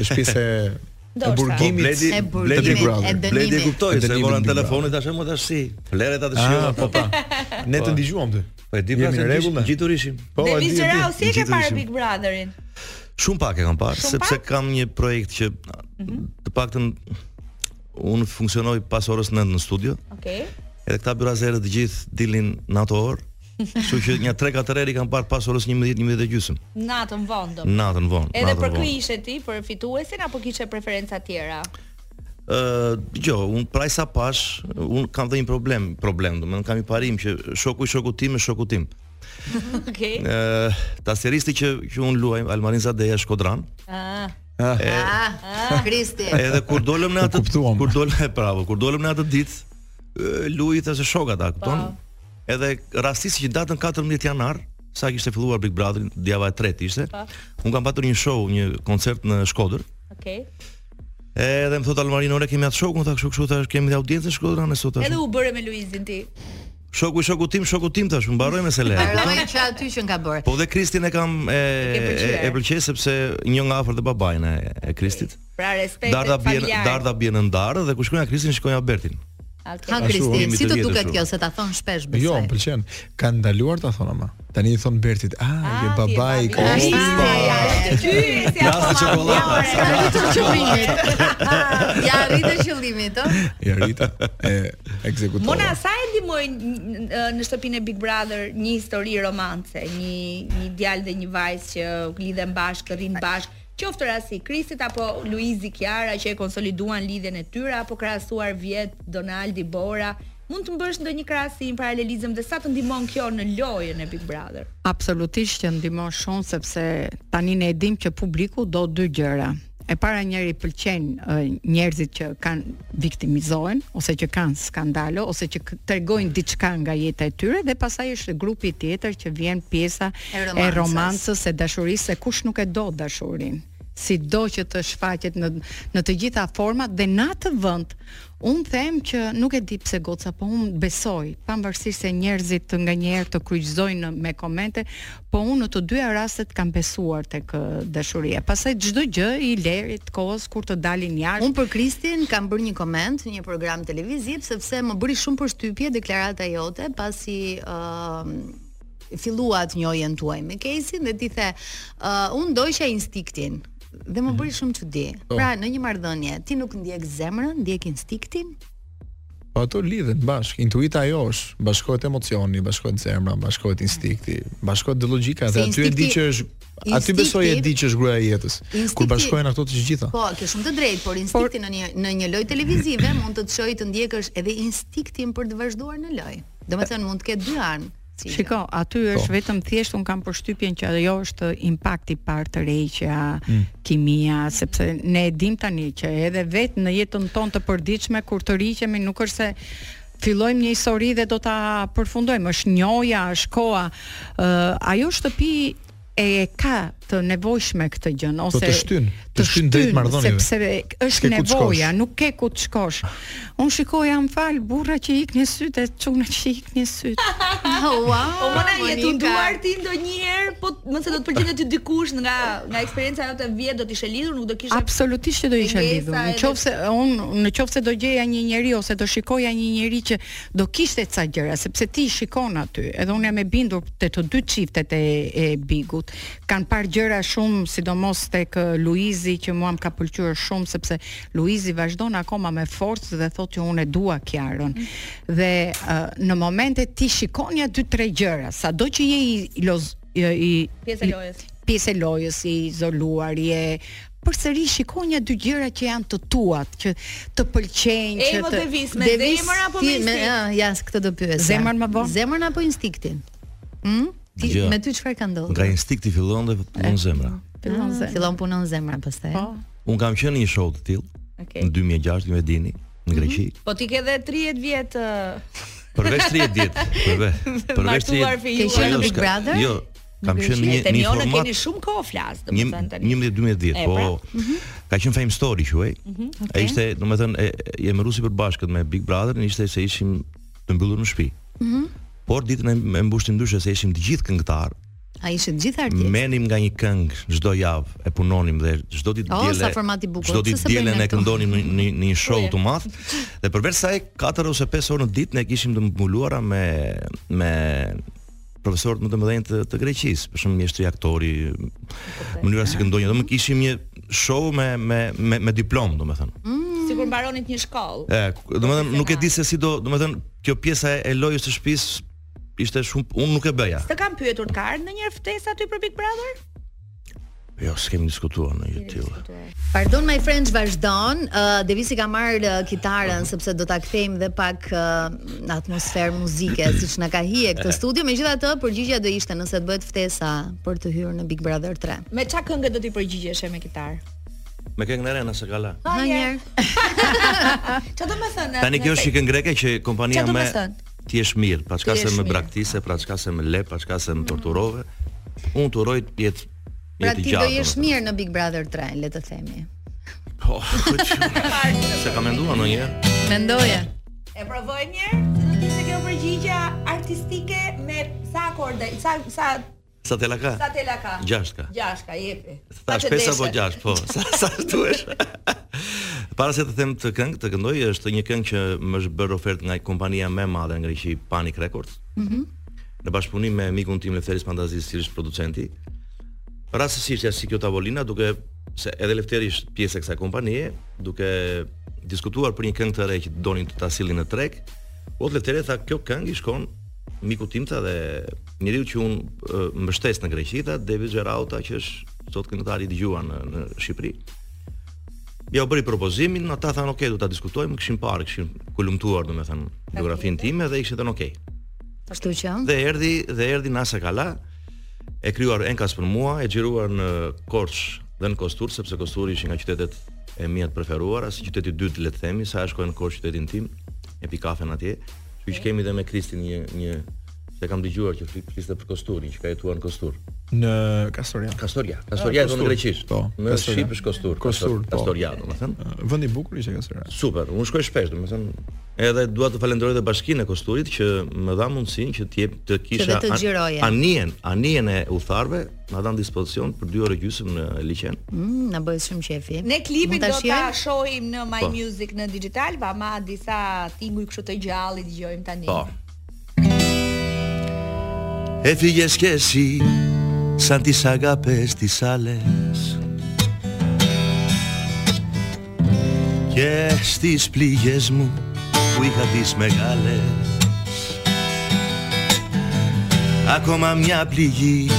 Speaker 5: Është pjesë e e
Speaker 8: Po
Speaker 5: burgimit.
Speaker 8: Bledi,
Speaker 1: E burgimit,
Speaker 8: Bledi,
Speaker 5: e dënimit.
Speaker 8: Bledi e kuptoi
Speaker 5: E
Speaker 8: se
Speaker 5: dënimit
Speaker 8: vora
Speaker 5: Big
Speaker 8: në
Speaker 5: Brother.
Speaker 8: telefonin tash më tash si. Fleret atë
Speaker 5: Ah,
Speaker 8: shihon.
Speaker 5: po pa. Ne të dëgjuam ty.
Speaker 8: Po e di pra
Speaker 5: Jemi
Speaker 8: se
Speaker 5: në rregull,
Speaker 8: gjitur-
Speaker 5: ne?
Speaker 8: gjitur ishim.
Speaker 5: Po, e di, e
Speaker 6: Devis
Speaker 5: di.
Speaker 6: Gjerau, si e ke
Speaker 8: Gjithë
Speaker 6: parë
Speaker 8: ishim.
Speaker 6: Big Brotherin?
Speaker 8: Shumë pak e kam parë,
Speaker 6: Shumë
Speaker 8: sepse
Speaker 6: pak?
Speaker 8: kam një projekt që të paktën unë funksionoj pas orës 9 në studio,
Speaker 6: Okej.
Speaker 8: edhe këta byrazerë të gjithë dilin në ato orë. Kështu që një 3-4 herë i kam parë pas orës 11 11 dhe gjysmë,
Speaker 6: Natën vonë do.
Speaker 8: natën vonë.
Speaker 6: Edhe
Speaker 8: natën
Speaker 6: për
Speaker 8: vonë.
Speaker 6: ky ishe ti për fituesin apo kishe preferenca tjera?
Speaker 8: Ë, jo, dëgjoj, un praj sa pash, un kam dhe një problem, problem, domethënë kam i parim që shoku i shokut tim është shoku tim.
Speaker 6: Okej.
Speaker 8: Ë, taseristi që që un luaj Almarin Zadeja Shkodran.
Speaker 6: Ah.
Speaker 1: Ah, Kristi.
Speaker 8: Edhe kur dolëm në atë
Speaker 5: kuptuam.
Speaker 8: kur dolëm e pravo, kur dolëm në atë ditë, ë, luaj thashë shok ata, kupton? Edhe rastisht që datën 14 janar, sa kishte filluar Big Brotherin, djava e tretë ishte.
Speaker 6: Po.
Speaker 8: Un kam patur një show, një koncert në Shkodër.
Speaker 6: Okej.
Speaker 8: Edhe më thot Almarin, "Ore kemi atë shokun, tha kështu kështu, thash kemi dhe audiencë në Shkodër ne sot." thash.
Speaker 6: Edhe u bëre me Luizin ti.
Speaker 8: Shoku i shoku tim, shoku tim tash, mbaroj me sele.
Speaker 1: Harroj që aty që nga bërë.
Speaker 8: Po dhe Kristin e kam e
Speaker 6: ke pëlqyer.
Speaker 8: e, e pëlqej sepse një nga afërt e babajnë e, e Kristit.
Speaker 6: Pra respekt
Speaker 8: Darda bie
Speaker 6: familjar.
Speaker 8: Darda bie në ndarë dhe kur shkojnë Kristin shkojnë Albertin.
Speaker 1: Ha
Speaker 6: Okay.
Speaker 5: Ashtu,
Speaker 1: Kristi,
Speaker 8: jemi
Speaker 1: si
Speaker 8: të
Speaker 1: të
Speaker 8: vjetër
Speaker 1: duket
Speaker 8: shumë.
Speaker 1: kjo se ta thon shpesh besoj.
Speaker 5: Jo, më pëlqen. Ka ndaluar ta thonë ama. Tani i thon Bertit, ah, je babai Po. i
Speaker 6: Ah,
Speaker 1: Ai,
Speaker 5: Kristit.
Speaker 1: ai, ai.
Speaker 6: Ty si apo
Speaker 8: Lasë çokoladë.
Speaker 1: Ja arritë qëllimit. Ja arritë qëllimit, ëh.
Speaker 5: Ja Rita e ekzekutoi.
Speaker 6: Mona sa e ndihmojnë n- n- në shtëpinë e Big Brother një histori romance, një një djalë dhe një vajzë që lidhen bashkë, rrin bashkë, qoftë rasti i Kristit apo Luizi Kiara që e konsoliduan lidhjen e tyre apo krahasuar vjet Donaldi Bora, mund të bësh ndonjë krahasim, paralelizëm dhe sa të ndihmon kjo në lojën e Big Brother?
Speaker 4: Absolutisht që ndihmon shumë sepse tani ne e dim që publiku do dy gjëra. E para njëri pëlqen ë, njerëzit që kanë viktimizohen ose që kanë skandalo ose që k- tregojnë diçka nga jeta e tyre dhe pastaj është grupi tjetër që vjen pjesa
Speaker 1: E romancës.
Speaker 4: e romancës, e dashurisë, se kush nuk e do dashurinë si do që të shfaqet në në të gjitha format dhe në atë vend un them që nuk e di pse goca, po un besoj, pavarësisht se njerëzit të nganjëherë të kryqëzojnë në- me komente, po unë në të dyja rastet kam besuar tek ë, dashuria. Pastaj çdo gjë i lerit kohës kur të dalin jashtë.
Speaker 1: Unë për Kristin kam bërë një koment në një program televiziv sepse më bëri shumë përshtypje deklarata jote pasi ë fillua të njohjen tuaj me Kesin dhe ti the uh, unë dojsha instinktin dhe më bëri shumë çudi. Pra në një marrëdhënie ti nuk ndjek zemrën, ndjek instinktin?
Speaker 5: Po ato lidhen bashk, intuita ajo është, bashkohet emocioni, bashkohet zemra, bashkohet instinkti, bashkohet dhe logjika
Speaker 1: Se
Speaker 5: dhe aty e di
Speaker 1: instinkti-
Speaker 5: që është aty
Speaker 1: instinkti-
Speaker 5: besoj e di që është gruaja e jetës. Kur
Speaker 1: Instinkti-
Speaker 5: bashkohen ato të gjitha.
Speaker 1: Po, ke shumë të drejtë, por instinkti në një në një lojë televizive mund të të shojë të ndjekësh edhe instiktin për të vazhduar në lojë. Domethënë mund të ketë dy anë. si gjë.
Speaker 4: Shiko, aty
Speaker 5: Po.
Speaker 4: është vetëm thjesht un kam përshtypjen që ajo është impakti i parë të rreqja,
Speaker 5: Mm.
Speaker 4: kimia, sepse ne e dim tani që edhe vetë në jetën tonë të përditshme kur të rriqemi nuk është se fillojmë një histori dhe do ta përfundojmë, është njoja, është koha. Ë, ajo shtëpi e ka të nevojshme këtë gjë ose
Speaker 5: Po, të shtyn, të shtyn drejt marrëdhënieve.
Speaker 4: sepse
Speaker 5: S'ke
Speaker 4: është
Speaker 5: ku të
Speaker 4: nevoja,
Speaker 5: shkosh. Ah.
Speaker 4: nuk ke ku të shkosh. Unë shikoja më fal burra që ikni sytë, çuna që ikni sytë.
Speaker 1: Wow.
Speaker 6: Po mona jetu nduar ti ndonjëherë, po nëse do të pëlqente ty dikush nga nga eksperjenca jote vjet do të ishe lidhur, nuk do kishe
Speaker 4: Absolutisht që do isha
Speaker 6: Pengesa
Speaker 4: lidhur. Në
Speaker 6: edhe-
Speaker 4: qoftë se unë në qoftë se do gjeja një njeri ose do shikoja një njeri që do kishte ca gjëra, sepse ti i shikon aty. Edhe unë jam e bindur te të dy çiftet e, e Bigut. Kan parë gjëra shumë, sidomos tek ë, Luizi që mua më ka pëlqyer shumë sepse Luizi vazhdon akoma me forcë dhe thotë që unë e dua Kiarën. Dhe ë, në momente ti shikon ja dy tre gjëra, sado që je i, i, loz, i, i
Speaker 6: pjesë e lojës.
Speaker 4: pjesë e lojës i izoluar je përsëri shikon një dy gjëra që janë të tuat, që të pëlqejnë,
Speaker 6: E
Speaker 4: që
Speaker 6: më
Speaker 4: të
Speaker 6: devis me
Speaker 1: Devis
Speaker 6: zemër apo
Speaker 1: ti
Speaker 6: me
Speaker 1: me
Speaker 6: instinkt?
Speaker 1: ë, ja, këtë do pyes.
Speaker 4: Zemrën më bon?
Speaker 1: Zemrën apo instinktin? Hm? Ti
Speaker 8: Gjë.
Speaker 1: me ty çfarë ka ndodhur?
Speaker 8: Nga instinkti fillon dhe punon zemra.
Speaker 4: fillon
Speaker 1: Ah,
Speaker 4: zemra.
Speaker 1: Fillon punon zemra pastaj.
Speaker 4: Po.
Speaker 8: Un kam qenë në një show të tillë
Speaker 6: Okej.
Speaker 8: në 2006 me Dini në Greqi.
Speaker 6: Po ti ke edhe 30 vjet ë,
Speaker 8: Përveç 30 ditë, përveç përveç
Speaker 6: martuar
Speaker 8: 30
Speaker 6: fi
Speaker 1: Ke qenë
Speaker 8: Jo,
Speaker 1: në Big
Speaker 8: s'ka-
Speaker 1: Brother?
Speaker 8: Jo, kam qenë në një
Speaker 6: Te
Speaker 8: një
Speaker 6: mionë
Speaker 8: format
Speaker 6: keni shumë kohë flas,
Speaker 8: Një-
Speaker 6: domethënë tani.
Speaker 8: 11-12,
Speaker 6: E,
Speaker 8: po ka qenë fame story quaj. Ai ishte, domethënë, e- e- jemi rusi përbashkët me Big Brother, ishte se ishim të mbyllur në shtëpi. Por ditën e e mbushtim ndryshe se ishim të gjithë këngëtarë.
Speaker 1: Ai ishte të gjithë artist.
Speaker 8: Menim nga një këngë çdo javë, e punonim dhe çdo ditë
Speaker 1: O,
Speaker 8: diele.
Speaker 1: sa format i bukur,
Speaker 8: Çdo
Speaker 1: pse
Speaker 8: ditë
Speaker 1: se
Speaker 8: diele
Speaker 1: bëjmë
Speaker 8: ne
Speaker 1: këtu?
Speaker 8: këndonim në një- në një show të madh. Dhe përveç saj 4 ose 5 orë në ditë ne kishim të mbuluara me me profesorët më të mëdhenj të, të Greqisë, për shembull mjeshtri aktori, mënyra si këndonjë, domethënë kishim një show me me me, me diplomë, domethënë.
Speaker 1: Mm.
Speaker 6: Sigur mbaronit një shkollë.
Speaker 8: E, ku- domethënë nuk e di se si do, domethënë kjo pjesa e- e lojës së shtëpisë ishte shumë unë nuk e bëja.
Speaker 6: Të kam pyetur ka ardhur ndonjëherë ftesë aty për Big Brother?
Speaker 8: Jo, s'kemi diskutuar në gjë të tillë.
Speaker 1: Pardon my friends vazhdon. Uh, Devisi ka marr uh, kitarën sepse do ta kthejmë dhe pak uh, në atmosferë muzike siç na ka hije këtë studio. Megjithatë, përgjigjja do ishte nëse të bëhet ftesa për të hyrë në Big Brother 3.
Speaker 6: Me ç'a këngë do ti përgjigjesh e me kitarë?
Speaker 8: Me këngën e Rena Sakala.
Speaker 1: Ha njerë.
Speaker 6: Ç'a do të thënë?
Speaker 8: Tani kjo është një këngë greke që kompania
Speaker 6: Çfarë do
Speaker 8: me
Speaker 6: me thënë?
Speaker 8: ti je mirë, pa çka
Speaker 6: Ti
Speaker 8: se
Speaker 6: jesh
Speaker 8: më
Speaker 6: mirë.
Speaker 8: braktise, pa çka se më le, pa çka se më torturove. Unë të uroj të jetë
Speaker 1: Pra
Speaker 8: jetë i
Speaker 1: ti do
Speaker 8: gjatë.
Speaker 1: jesh
Speaker 8: domethënë.
Speaker 1: mirë në Big Brother 3, le të themi.
Speaker 8: Po. po që- Se ka menduar ndonjëherë?
Speaker 1: Mendoje.
Speaker 6: E provoj një herë, se do të ishte kjo përgjigje artistike me sa akorde, sa sa
Speaker 8: Sa tela ka?
Speaker 6: sa tela ka?
Speaker 8: Gjashtë ka.
Speaker 6: Gjashtë ka, jepi.
Speaker 8: Tash
Speaker 6: që
Speaker 8: pesë
Speaker 6: deshe.
Speaker 8: apo gjashtë, po. Sa sa duhesh. Para se të them të këngë, të këndoj është një këngë që më është bërë ofertë nga kompania më e madhe në Greqi, Panic Records. Në bashkëpunim me mikun tim Lefteris Pandazi, i cili është producenti. Rastësisht ja si kjo tavolina duke se edhe Lefteri është pjesë e kësaj kompanie, duke diskutuar për një këngë të re që donin të ta sillnin në treg. Po Lefteri tha kjo këngë i shkon miku tim tha dhe njeriu që un mbështes në Greqi tha David Gerauta që është sot këngëtar i dëgjuar në, në Shqipëri. Ja u bëri propozimin, ata thanë okay, do ta diskutojmë, kishin parë, kishin kulumtuar domethënë biografinë time dhe ishin thënë okay.
Speaker 1: Kështu që
Speaker 8: Dhe erdhi dhe erdhi Nasa Kala, e krijuar enkas për mua, e xhiruar në Korç dhe në Kostur, sepse Kosturi ishin nga qytetet e mia të preferuara, si qyteti i dytë le të themi, sa e shkoj në Korç qytetin tim, e pi kafen atje. Kështu që kemi dhe me Kristin një një se kam dëgjuar që fli- fliste për Kosturin, që ka jetuar në Kostur.
Speaker 5: në Kastoria.
Speaker 8: Kastoria, Kastoria
Speaker 5: Ah,
Speaker 8: e thonë
Speaker 5: Kostur,
Speaker 8: greqisht.
Speaker 5: po,
Speaker 8: në
Speaker 5: Kastoria.
Speaker 8: shqip është Kostur.
Speaker 5: Kostur, po.
Speaker 8: Kastoria, domethënë.
Speaker 5: Vendi i bukur ishte Kastoria.
Speaker 8: Super, unë shkoj shpesh, domethënë edhe dua të falenderoj edhe bashkinë e Kosturit që më dha mundësinë që të jep të kisha
Speaker 1: Që dhe të xhiroje.
Speaker 8: an- anijen, anijen e udhëtarëve, na dhan dispozicion për 2 orë gjysmë në liçen.
Speaker 1: mm, na bëhet shumë qefi.
Speaker 6: Ne
Speaker 1: Mund
Speaker 6: klipin
Speaker 1: ta
Speaker 6: do ta
Speaker 1: shijojmë?
Speaker 6: shohim në My
Speaker 8: Po.
Speaker 6: Music në digital, pa ma disa tinguj kështu të gjallë i dëgjojmë tani.
Speaker 8: Po. Έφυγες κι εσύ σαν τις αγάπες τις άλλες και στις πληγές μου που είχα τις μεγάλες ακόμα μια πληγή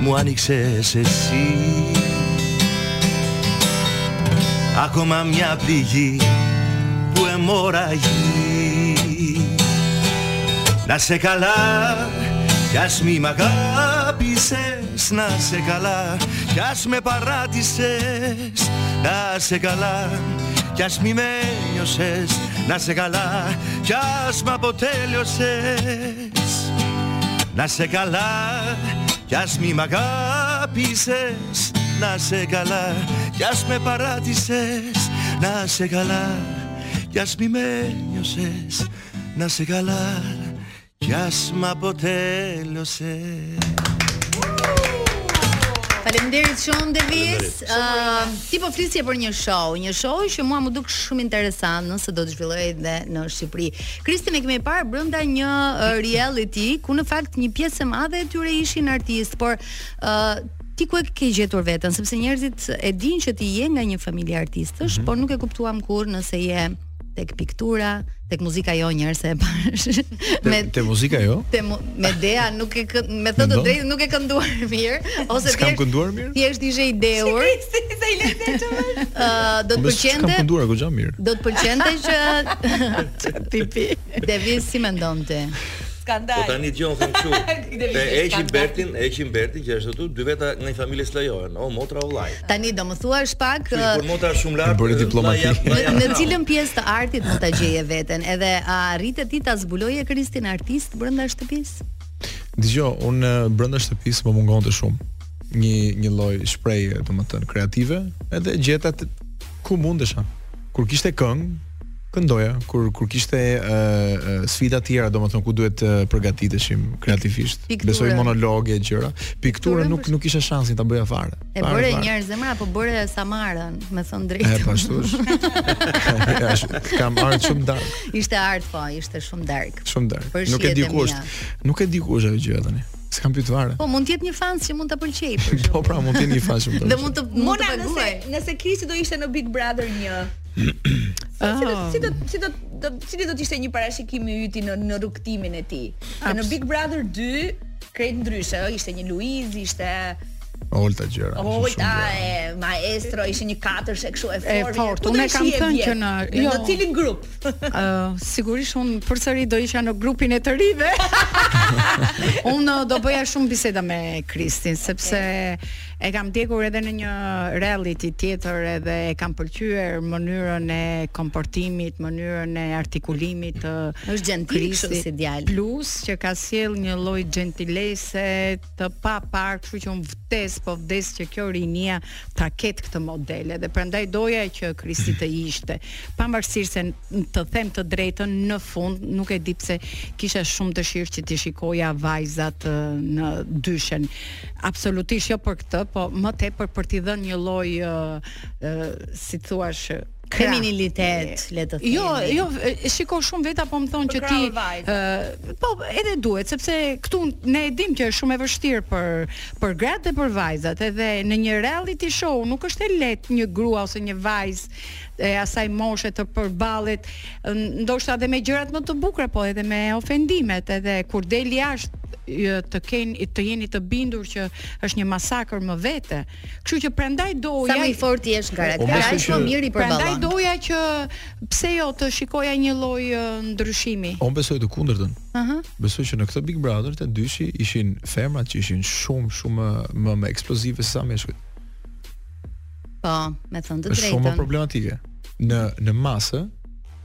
Speaker 8: μου άνοιξες εσύ ακόμα μια πληγή που αιμορραγεί να σε καλά, κι ας μη μ' αγάπησες Να σε καλά, κι ας με παράτησες Να σε καλά, κι ας μη με νιώσες Να σε καλά, κι ας μ' αποτέλειωσες Να σε καλά, κι ας μη μ' αγάπησες pises, να σε καλά κι ας με παράτησες Να σε καλά κι ας μη με νιώσες Να σε καλά κι ας μ' αποτέλωσες
Speaker 1: Faleminderit shumë Devis.
Speaker 8: Faleminderit.
Speaker 1: Ëm, ti po flisje për një show, një show që mua më duk shumë interesant nëse do të zhvillohej edhe në Shqipëri. Kristi ne kemi parë brenda një ë, reality ku në fakt një pjesë e madhe e tyre ishin artistë, por ë ti ku e ke gjetur veten, sepse njerëzit e dinë që ti je nga një familje artistësh,
Speaker 5: Mhm.
Speaker 1: por nuk e kuptuam kurrë nëse je tek piktura, tek muzika jo njerëz se e bash.
Speaker 5: Te, te muzika jo?
Speaker 1: Te mu- me Dea nuk e kë, me thënë të
Speaker 5: Mendon?
Speaker 1: drejtë nuk e kënduar mirë ose
Speaker 5: S'kam
Speaker 1: thjesht-
Speaker 5: kënduar mirë?
Speaker 1: Thjesht ishe i dehur.
Speaker 6: Si sa i lehtë e çfarë?
Speaker 1: Ë, do të
Speaker 5: Mos kam
Speaker 1: pëlqente
Speaker 5: kënduar goxha mirë.
Speaker 1: do të pëlqente që tipi Devis si mendon ti?
Speaker 8: Po
Speaker 6: Skandal.
Speaker 8: tani dëgjon them kështu. E heqin Bertin, e heqin Bertin që është aty dy veta nga një familje slajohen, o motra o vllai.
Speaker 1: Tani do më thuash pak
Speaker 8: Kështu që
Speaker 1: ë,
Speaker 8: kur motra është shumë lart.
Speaker 5: E bëri
Speaker 8: vllai
Speaker 5: diplomati.
Speaker 8: jap- vllai
Speaker 1: në,
Speaker 8: jap
Speaker 1: në
Speaker 8: prap.
Speaker 1: cilën pjesë të artit mund ta gjeje veten? Edhe a arritet ti ta zbuloje Kristin artist brenda shtëpisë?
Speaker 5: Dgjoj, unë brenda shtëpisë më mungonte shumë një një lloj shprehje, domethënë kreative, edhe gjeta të- ku mundesha. Kur kishte këngë, këndoja, kur kur kishte ë uh, sfida të tjera, domethënë ku duhet të përgatiteshim kreativisht.
Speaker 1: Pikturën.
Speaker 5: Besoj monologe e gjëra. Pikturën
Speaker 1: Pikturën
Speaker 5: nuk
Speaker 1: për
Speaker 5: nuk kisha shansin ta bëja fare.
Speaker 1: E
Speaker 5: Fare,
Speaker 1: bëre
Speaker 5: fare.
Speaker 1: njerë zemra apo bëre Samarën, me thënë
Speaker 5: E
Speaker 1: drejtë.
Speaker 5: pa ashtu është. Ja, është- Kam ardhur shumë dark,
Speaker 1: Ishte art po, ishte shumë dark.
Speaker 5: shumë dark.
Speaker 1: Për
Speaker 5: Nuk e di
Speaker 1: shihet e
Speaker 5: ku është. Nuk e di ku është ajo gjë tani. S'kam pyet fare.
Speaker 1: Po mund të jetë një fans që mund ta pëlqej për
Speaker 5: Po
Speaker 1: shembull.
Speaker 5: pra, mund të jeni fashim.
Speaker 1: Dhe mund të mund
Speaker 6: Mona
Speaker 1: të
Speaker 6: nëse
Speaker 1: paguaj.
Speaker 6: nëse Kristi do ishte në Big Brother 1. Si do
Speaker 4: Ah.
Speaker 6: si do si do do si do të ishte një parashikim i yti në në rrugtimin e tij. Se Në
Speaker 4: Abs-
Speaker 6: Big Brother 2 krejt ndryshe, ë, ishte një Luiz, ishte
Speaker 5: Olta gjëra. ishin shumë
Speaker 6: Holta
Speaker 5: gjëra.
Speaker 6: e Maestro, ishte një katërsh e kështu e
Speaker 4: E
Speaker 6: fortë.
Speaker 4: fortë,
Speaker 6: Ku do
Speaker 4: unë e
Speaker 6: ishi
Speaker 4: kam
Speaker 6: e
Speaker 4: thënë
Speaker 6: vjet?
Speaker 4: që në-
Speaker 6: në,
Speaker 4: jo.
Speaker 6: në cilin grup?
Speaker 4: Ë, sigurisht unë përsëri do isha në grupin e të rive. unë uh, do bëja shumë biseda me Kristin sepse e kam ndjekur edhe në një reality tjetër edhe e kam pëlqyer mënyrën e komportimit, mënyrën e artikulimit uh, të
Speaker 1: Është gjentil kështu
Speaker 4: Kristit,
Speaker 1: si djalë.
Speaker 4: Plus që ka sjell një lloj gentilese të pa par, kështu që unë vdes, po vdes që kjo rinia ta ketë këtë modele dhe prandaj doja që Kristi të ishte. Pavarësisht se n- të them të drejtën, në fund nuk e di pse kisha shumë dëshirë që të shikoja vajzat ë, në dyshen. Absolutisht jo për këtë, po më tepër për t'i dhënë një lloj ë ë, si thua krah.
Speaker 1: Feminilitet, le të themi.
Speaker 4: Jo, jo, e- shiko shumë veta po më thonë që ti
Speaker 6: krahun vajzë.
Speaker 4: ë, po edhe duhet sepse këtu ne e dim që është shumë e vështirë për për gratë dhe për vajzat, edhe në një reality show nuk është e lehtë një grua ose një vajzë e asaj moshe të përballet n- ndoshta edhe me gjërat më të bukura, po edhe me ofendimet, edhe kur del jashtë ë, të keni të jeni të bindur që është një masakër më vete. Kështu që prandaj doja
Speaker 1: Sa më i fortë jesh në
Speaker 5: O,
Speaker 1: karakter,
Speaker 5: besoj
Speaker 1: aq më
Speaker 5: Po, që-
Speaker 1: mirë i
Speaker 4: Prandaj
Speaker 1: përballon.
Speaker 4: doja që pse jo të shikoja një lloj ë, ndryshimi.
Speaker 5: On besoj të kundërtën. Aha. Besoj që në këtë Big Brother të dyshi ishin femrat që ishin shumë shumë më- më më eksplozive se sa meshkujt.
Speaker 1: Po, me thënë të
Speaker 5: Është shumë më
Speaker 1: drejtën.
Speaker 5: problematike. Në në masë,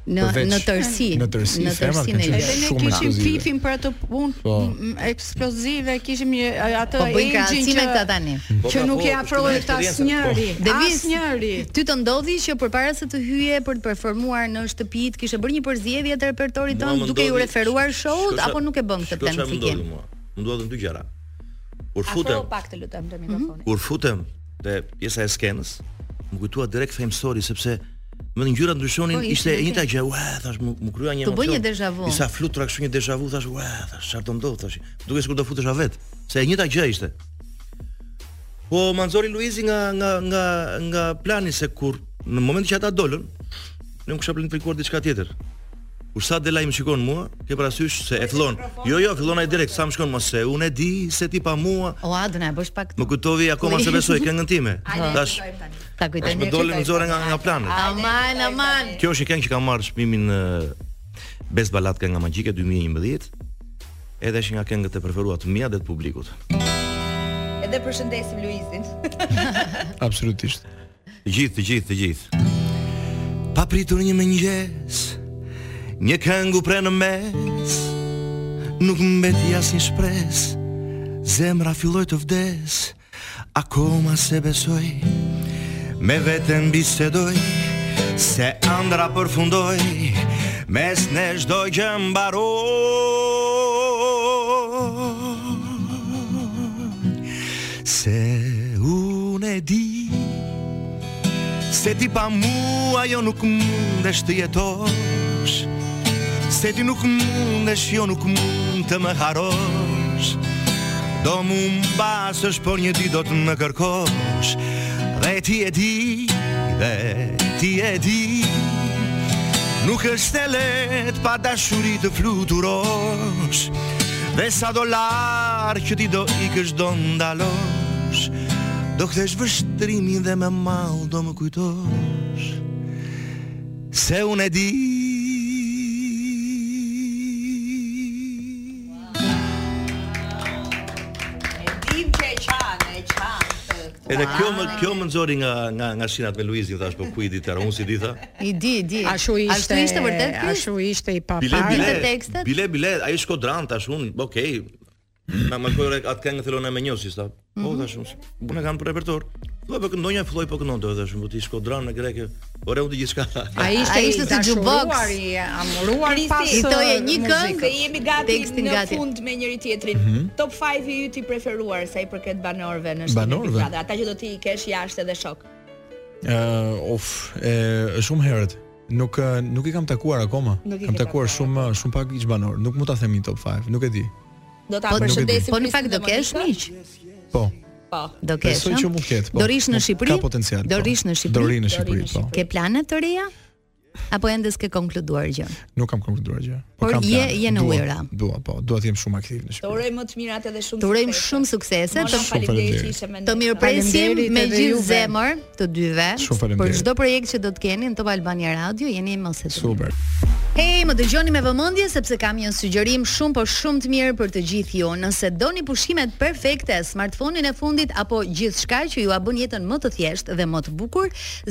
Speaker 1: Në
Speaker 5: përveç-
Speaker 1: në tërsi.
Speaker 5: në tërsi,
Speaker 1: tërsinë
Speaker 5: femrat kanë
Speaker 1: e
Speaker 5: qenë
Speaker 1: gjë.
Speaker 4: Edhe ne
Speaker 5: Shumë
Speaker 4: kishim
Speaker 5: eksplozive.
Speaker 4: fifin për atë punë
Speaker 5: Po.
Speaker 4: m- eksplozive, kishim një atë
Speaker 1: Po bëjnë
Speaker 4: agent
Speaker 1: krahasime këta tani.
Speaker 5: Mm.
Speaker 8: Po,
Speaker 4: që
Speaker 8: pra,
Speaker 4: nuk
Speaker 8: po,
Speaker 4: i
Speaker 8: është
Speaker 4: afrohet
Speaker 8: një
Speaker 4: asnjëri.
Speaker 8: eksperiencë,
Speaker 1: Devis.
Speaker 4: Asnjëri.
Speaker 1: Ty të ndodhi që përpara se të hyje për të performuar në shtëpi, të kishe bërë një përzjedhje të repertorit
Speaker 8: Mua
Speaker 1: tënd
Speaker 8: më
Speaker 1: duke ju
Speaker 8: ndodhi-
Speaker 1: referuar show-ut
Speaker 8: shko qa-
Speaker 1: apo nuk e bën këtë
Speaker 8: shko qa më ndodhi
Speaker 1: planifikim?
Speaker 8: mua. Më ndodhin dy gjëra. Kur
Speaker 6: Afro
Speaker 8: futem,
Speaker 6: pak të lutem te mikrofoni.
Speaker 8: kur futem te pjesa e skenës, më kujtua direkt Fame Story sepse më në ngjyrat ndryshonin
Speaker 1: Po, ishte
Speaker 8: ishte e
Speaker 1: në
Speaker 8: njëjta gjë. Ua, thash, më, më krya një
Speaker 1: Të bëj
Speaker 8: emocion.
Speaker 1: një déjà vu.
Speaker 8: Disa flutura kështu një deja vu, thash, ua, thash, çfarë do ndodh tash. Duke sikur do futesha vet, se e njëjta gjë ishte. Po Manzori Luizi nga nga nga nga plani se kur në momentin që ata dolën, ne kisha planifikuar diçka tjetër. Kur sa Delaj më shikon mua, ke parasysh se e fillon. Jo, jo, fillon ai direkt, sa më shkon mos se unë e di se ti pa mua,
Speaker 1: O, a do na e bësh pak
Speaker 8: Më kujtovi akoma se besoj këngën time. Tash
Speaker 1: ta kujtoj.
Speaker 8: tash më dolën në zore nga nga plani.
Speaker 1: Aman, aman.
Speaker 8: Kjo është një këngë që ka marrë çmimin në Best Ballad kënga magjike 2011. Edhe është nga këngët e preferuara të mia dhe të publikut.
Speaker 6: Edhe përshëndesim Luizin.
Speaker 5: absolutisht.
Speaker 8: Të gjithë, të gjithë, të gjithë. Pa pritur një mëngjes, një këngu pre në mes, nuk mbeti asnjë shpresë, zemra filloi të vdes,
Speaker 9: Akoma se besoj Me vetën bisedoj Se andra përfundoj Mes në çdo gjë mbaroj Se unë e di Se ti pa mua jo nuk mundesh të jetosh Se ti nuk mundesh jo nuk mund të më harosh Do mu mbasësh por një ditë do të më kërkosh Dhe ti e di, dhe ti e di Nuk është e let pa dashuri të fluturosh Dhe sa do larë që ti do ikësh do ndalosh Do kthesh vështrimin dhe me mall do më kujtosh Se unë e di
Speaker 2: Dim që e qanë, e qanë.
Speaker 8: Edhe kjo më kjo më nxori nga nga nga shinat me Luizin thash po ku i ditë unë si ditha.
Speaker 1: I di, i di.
Speaker 4: Ashtu ishte.
Speaker 1: Ashtu ishte vërtet ky?
Speaker 4: Ashtu ishte i
Speaker 8: Bile
Speaker 4: papar.
Speaker 8: bile.
Speaker 1: Dinte tekstet?
Speaker 8: Bile bile, ai shkodran tash unë, okay. Na më kërë atë këngë thelona me një si tha. Po
Speaker 1: Mhm.
Speaker 8: tash unë. Unë e kam për repertor. Do po këndonja filloi po këndon do tash, po ti shkodran në greke. Ore u di gjithçka.
Speaker 4: Ai ishte,
Speaker 1: Ai ishte si jukebox.
Speaker 4: dashuruar, i amuruar
Speaker 2: Krisi,
Speaker 4: pas uh,
Speaker 1: i thoje një
Speaker 4: muzikës.
Speaker 1: këngë,
Speaker 2: Se jemi gati
Speaker 1: Tekstin
Speaker 2: në
Speaker 1: gati.
Speaker 2: fund me njëri tjetrin.
Speaker 8: Mhm.
Speaker 2: Top 5 i yt i preferuar sa i përket banorëve në shtëpi.
Speaker 5: Banorëve?
Speaker 2: Ata që do ti i kesh jashtë edhe shok.
Speaker 5: Uh, of, e, shumë herët. Nuk ë, nuk i kam takuar akoma.
Speaker 2: Nuk i
Speaker 5: Kam
Speaker 2: ke takuar
Speaker 5: takuar shumë ë, shumë pak ish banor. Nuk mund ta themi top 5, nuk e di.
Speaker 2: Do ta
Speaker 1: Po,
Speaker 2: përshëndesim.
Speaker 1: Po në
Speaker 2: Krisin
Speaker 1: fakt
Speaker 2: dhe
Speaker 1: do kesh
Speaker 2: Monikën.
Speaker 1: miq.
Speaker 5: Po.
Speaker 2: Po.
Speaker 1: Do kesh.
Speaker 5: Besoj
Speaker 1: ëh?
Speaker 5: që mund ketë, po.
Speaker 1: Do rish në
Speaker 5: Mund-
Speaker 1: Shqipëri?
Speaker 5: Ka potencial.
Speaker 1: Do
Speaker 5: po.
Speaker 1: rish në Shqipëri?
Speaker 5: Do rish në
Speaker 2: Do rish
Speaker 5: Shqipëri,
Speaker 2: në
Speaker 5: po.
Speaker 1: Ke plane të reja? Apo ende s'ke konkluduar gjë?
Speaker 5: Nuk kam konkluduar gjë. Po
Speaker 1: Por
Speaker 5: kam
Speaker 1: je-
Speaker 5: plane.
Speaker 1: je në
Speaker 5: Dua-
Speaker 1: ujëra.
Speaker 5: Dua, po, dua të jem shumë aktiv në
Speaker 2: Të
Speaker 5: Shqipëri.
Speaker 2: urojmë më të mirat edhe shumë.
Speaker 1: Të urojmë
Speaker 2: suksese.
Speaker 1: shumë suksese,
Speaker 2: Mona,
Speaker 1: të
Speaker 2: faleminderit që
Speaker 5: faleminderit.
Speaker 2: ishe me ne.
Speaker 1: Të mirëpresim
Speaker 4: Faleminderit
Speaker 1: me
Speaker 4: edhe
Speaker 1: gjithë
Speaker 4: juve.
Speaker 1: zemër të dyve
Speaker 5: Shumë faleminderit.
Speaker 1: për çdo projekt që do të keni në Top Albania Radio, jeni mos e të mirë.
Speaker 5: Super.
Speaker 1: Hej, më dëgjoni me vëmendje sepse kam një sugjerim shumë po shumë të mirë për të gjithë ju. Nëse doni pushimet perfekte, smartphone-in e fundit apo gjithçka që ju a bën jetën më të thjeshtë dhe më të bukur,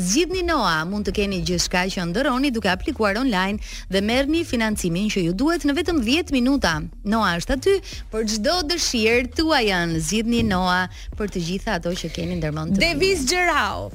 Speaker 1: zgjidhni Noa. Mund të keni gjithçka që ndërroni duke aplikuar online dhe merrni financimin që ju duhet në vetëm 10 minuta. Noa është aty për çdo dëshirë tuaj janë. Zgjidhni Noa për të gjitha ato që keni ndërmend. të
Speaker 2: Devis Gjerau.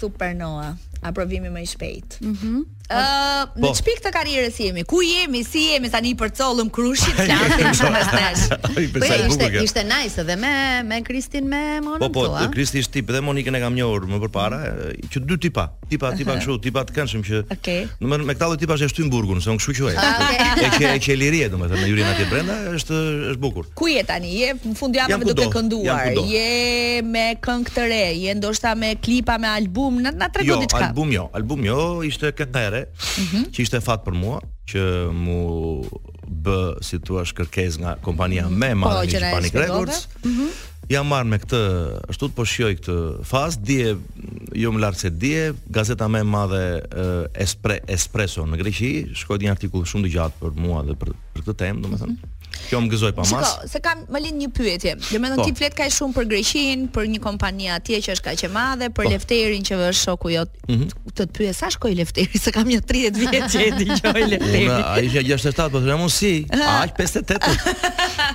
Speaker 2: Supernova. Aprovimi më i shpejt. Ëh,
Speaker 4: Mhm.
Speaker 2: në
Speaker 8: Po.
Speaker 2: çpik të karrierës jemi. Ku jemi? Si jemi tani për colëm krushit? Flasim shumë mes nesh.
Speaker 8: Ai
Speaker 1: Po ja,
Speaker 8: përsa e
Speaker 1: ishte
Speaker 8: bukur kjo.
Speaker 1: ishte nice edhe me me Kristin me Monën
Speaker 8: Po po,
Speaker 1: thua.
Speaker 8: Kristi është tip dhe Monikën e kam njohur më përpara, e, që dy tipa, tipa tipa kështu, tipa të këndshëm që.
Speaker 2: Okej.
Speaker 8: Do të thënë me këta lloj tipash e shtyn burgun, se unë kështu quaj.
Speaker 1: okay.
Speaker 8: E që e që lirie domethënë në hyrin atje brenda është është bukur.
Speaker 2: Ku je tani? Je në fund javën
Speaker 8: Jam kudo,
Speaker 2: duke
Speaker 8: jam
Speaker 2: kënduar.
Speaker 8: kudo.
Speaker 2: Je me këngë të re, je ndoshta me klipa me album, na, na trego
Speaker 8: Jo,
Speaker 2: diçka. Mhm.
Speaker 8: album jo, album jo, ishte kënga e re, që ishte fat për mua, që mu bë, si thua, kërkesë nga kompania më e
Speaker 2: Po, që
Speaker 8: madhe
Speaker 2: Mhm.
Speaker 8: që
Speaker 2: na e
Speaker 8: Panic
Speaker 2: shpjegove.
Speaker 8: Records. Jam marrë me këtë, ashtu të po shijoj këtë fazë, dje jo më lart se dje, gazeta më e madhe e, Espre, Espresso në Greqi, shkoi një artikull shumë i gjatë për mua dhe për, për këtë temë, domethënë. Kjo më gëzoi pa mas.
Speaker 2: Mhm. Shiko, se kam më lind një pyetje. Domethënë
Speaker 8: Po.
Speaker 2: ti flet kaq shumë për Greqin, për një kompani atje që është kaq e madhe, për
Speaker 8: Po.
Speaker 2: Lefterin që është shoku jot.
Speaker 8: Mhm.
Speaker 2: Të të pyes sa shkoi Lefteri, se kam një 30 vjet që e dëgjoj
Speaker 8: Unë
Speaker 2: Lefterin.
Speaker 8: ai ishte 67, po them unë si, aq 58.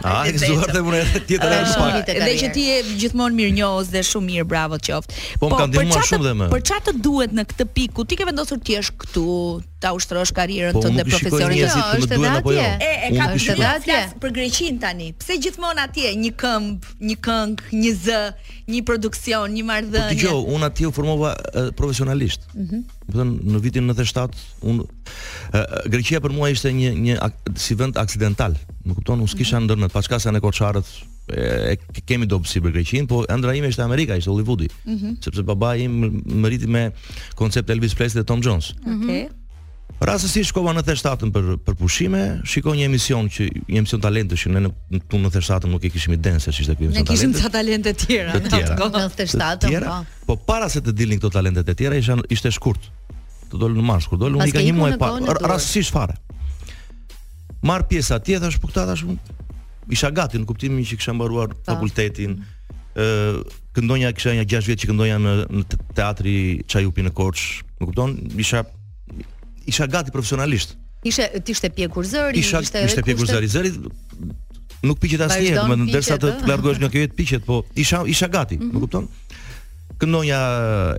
Speaker 8: Ai gëzuar dhe unë edhe tjetër
Speaker 1: Edhe
Speaker 8: edhe
Speaker 1: shumë
Speaker 8: pak.
Speaker 1: vite
Speaker 2: Dhe që ti je gjithmonë mirë njohës dhe shumë mirë, bravo qoftë.
Speaker 8: Po, më
Speaker 2: për
Speaker 8: kanë ndihmuar
Speaker 2: çfarë
Speaker 8: shumë
Speaker 2: të-
Speaker 8: dhe më.
Speaker 2: Për çfarë të duhet në këtë pikë? ku Ti ke vendosur ti je këtu, ta ushtrosh karrierën
Speaker 8: Po
Speaker 2: tënde
Speaker 8: nuk i shikoj
Speaker 2: profesionale.
Speaker 1: Jo,
Speaker 8: njerëzit që më
Speaker 1: është
Speaker 8: duhen
Speaker 1: edhe
Speaker 8: apo jo.
Speaker 1: atje.
Speaker 2: E, e
Speaker 8: Unë
Speaker 2: ka
Speaker 1: është
Speaker 8: nuk i
Speaker 2: përshtypur
Speaker 8: shikoj.
Speaker 1: edhe
Speaker 2: flas
Speaker 1: atje.
Speaker 2: për Greqin tani. Pse gjithmonë atje një këmb, një këngë, një zë, një produksion, një
Speaker 8: Po
Speaker 2: marrëdhënie.
Speaker 8: dëgjoj, unë atje u formova e, profesionalisht. Mhm. Do të thënë në vitin 97 unë e, e, Greqia për mua ishte një një ak- si vend aksidental. Më kupton, unë s'kisha
Speaker 2: Mhm.
Speaker 8: ndërmend paçkasa në korçarët e e ke- kemi dobësi për Greqin, po ëndra ime ishte Amerika, ishte Hollywoodi,
Speaker 2: Mhm.
Speaker 8: sepse babai im më rriti me koncept Elvis Presley dhe Tom Jones.
Speaker 1: Mhm.
Speaker 2: Okej.
Speaker 8: Rastësisht shkova në 97 për për pushime, shikoj një emision që një emision talente që ne në në tu në 97 nuk e kishim idenë se ç'ishte
Speaker 2: Ne
Speaker 8: ky emision
Speaker 2: kishim
Speaker 8: talente.
Speaker 2: ca talente tjera.
Speaker 8: Të tjera.
Speaker 2: Atë kohë.
Speaker 1: 97, po.
Speaker 8: po para se të dilnin këto talentet e tjera ishan ishte shkurt. Të dolën në mars, kur dolën
Speaker 1: Pas
Speaker 8: unë i ka
Speaker 1: ke
Speaker 8: një
Speaker 1: ikur
Speaker 8: muaj
Speaker 1: në
Speaker 8: pa,
Speaker 1: kohën e dur.
Speaker 8: rastësisht fare. Marr pjesë atje thash po këta thash unë isha gati në kuptimin që kisha mbaruar fakultetin. ë këndonja kisha një 6 vjet që këndonja në në te- teatri Çajupi në Korçë. Më kupton? Isha isha gati profesionalisht.
Speaker 1: Ishe ti ishte pjekur zëri,
Speaker 8: Isha
Speaker 1: ishte
Speaker 8: ishte pjekur
Speaker 1: kushte-
Speaker 8: zëri zëri nuk piqet asnjëherë,
Speaker 1: Vazhdon
Speaker 8: domethënë derisa të
Speaker 1: piqet, Mhm. ëh.
Speaker 8: largohesh nga kjo jetë piqet, po isha isha gati, më kupton? Këndonja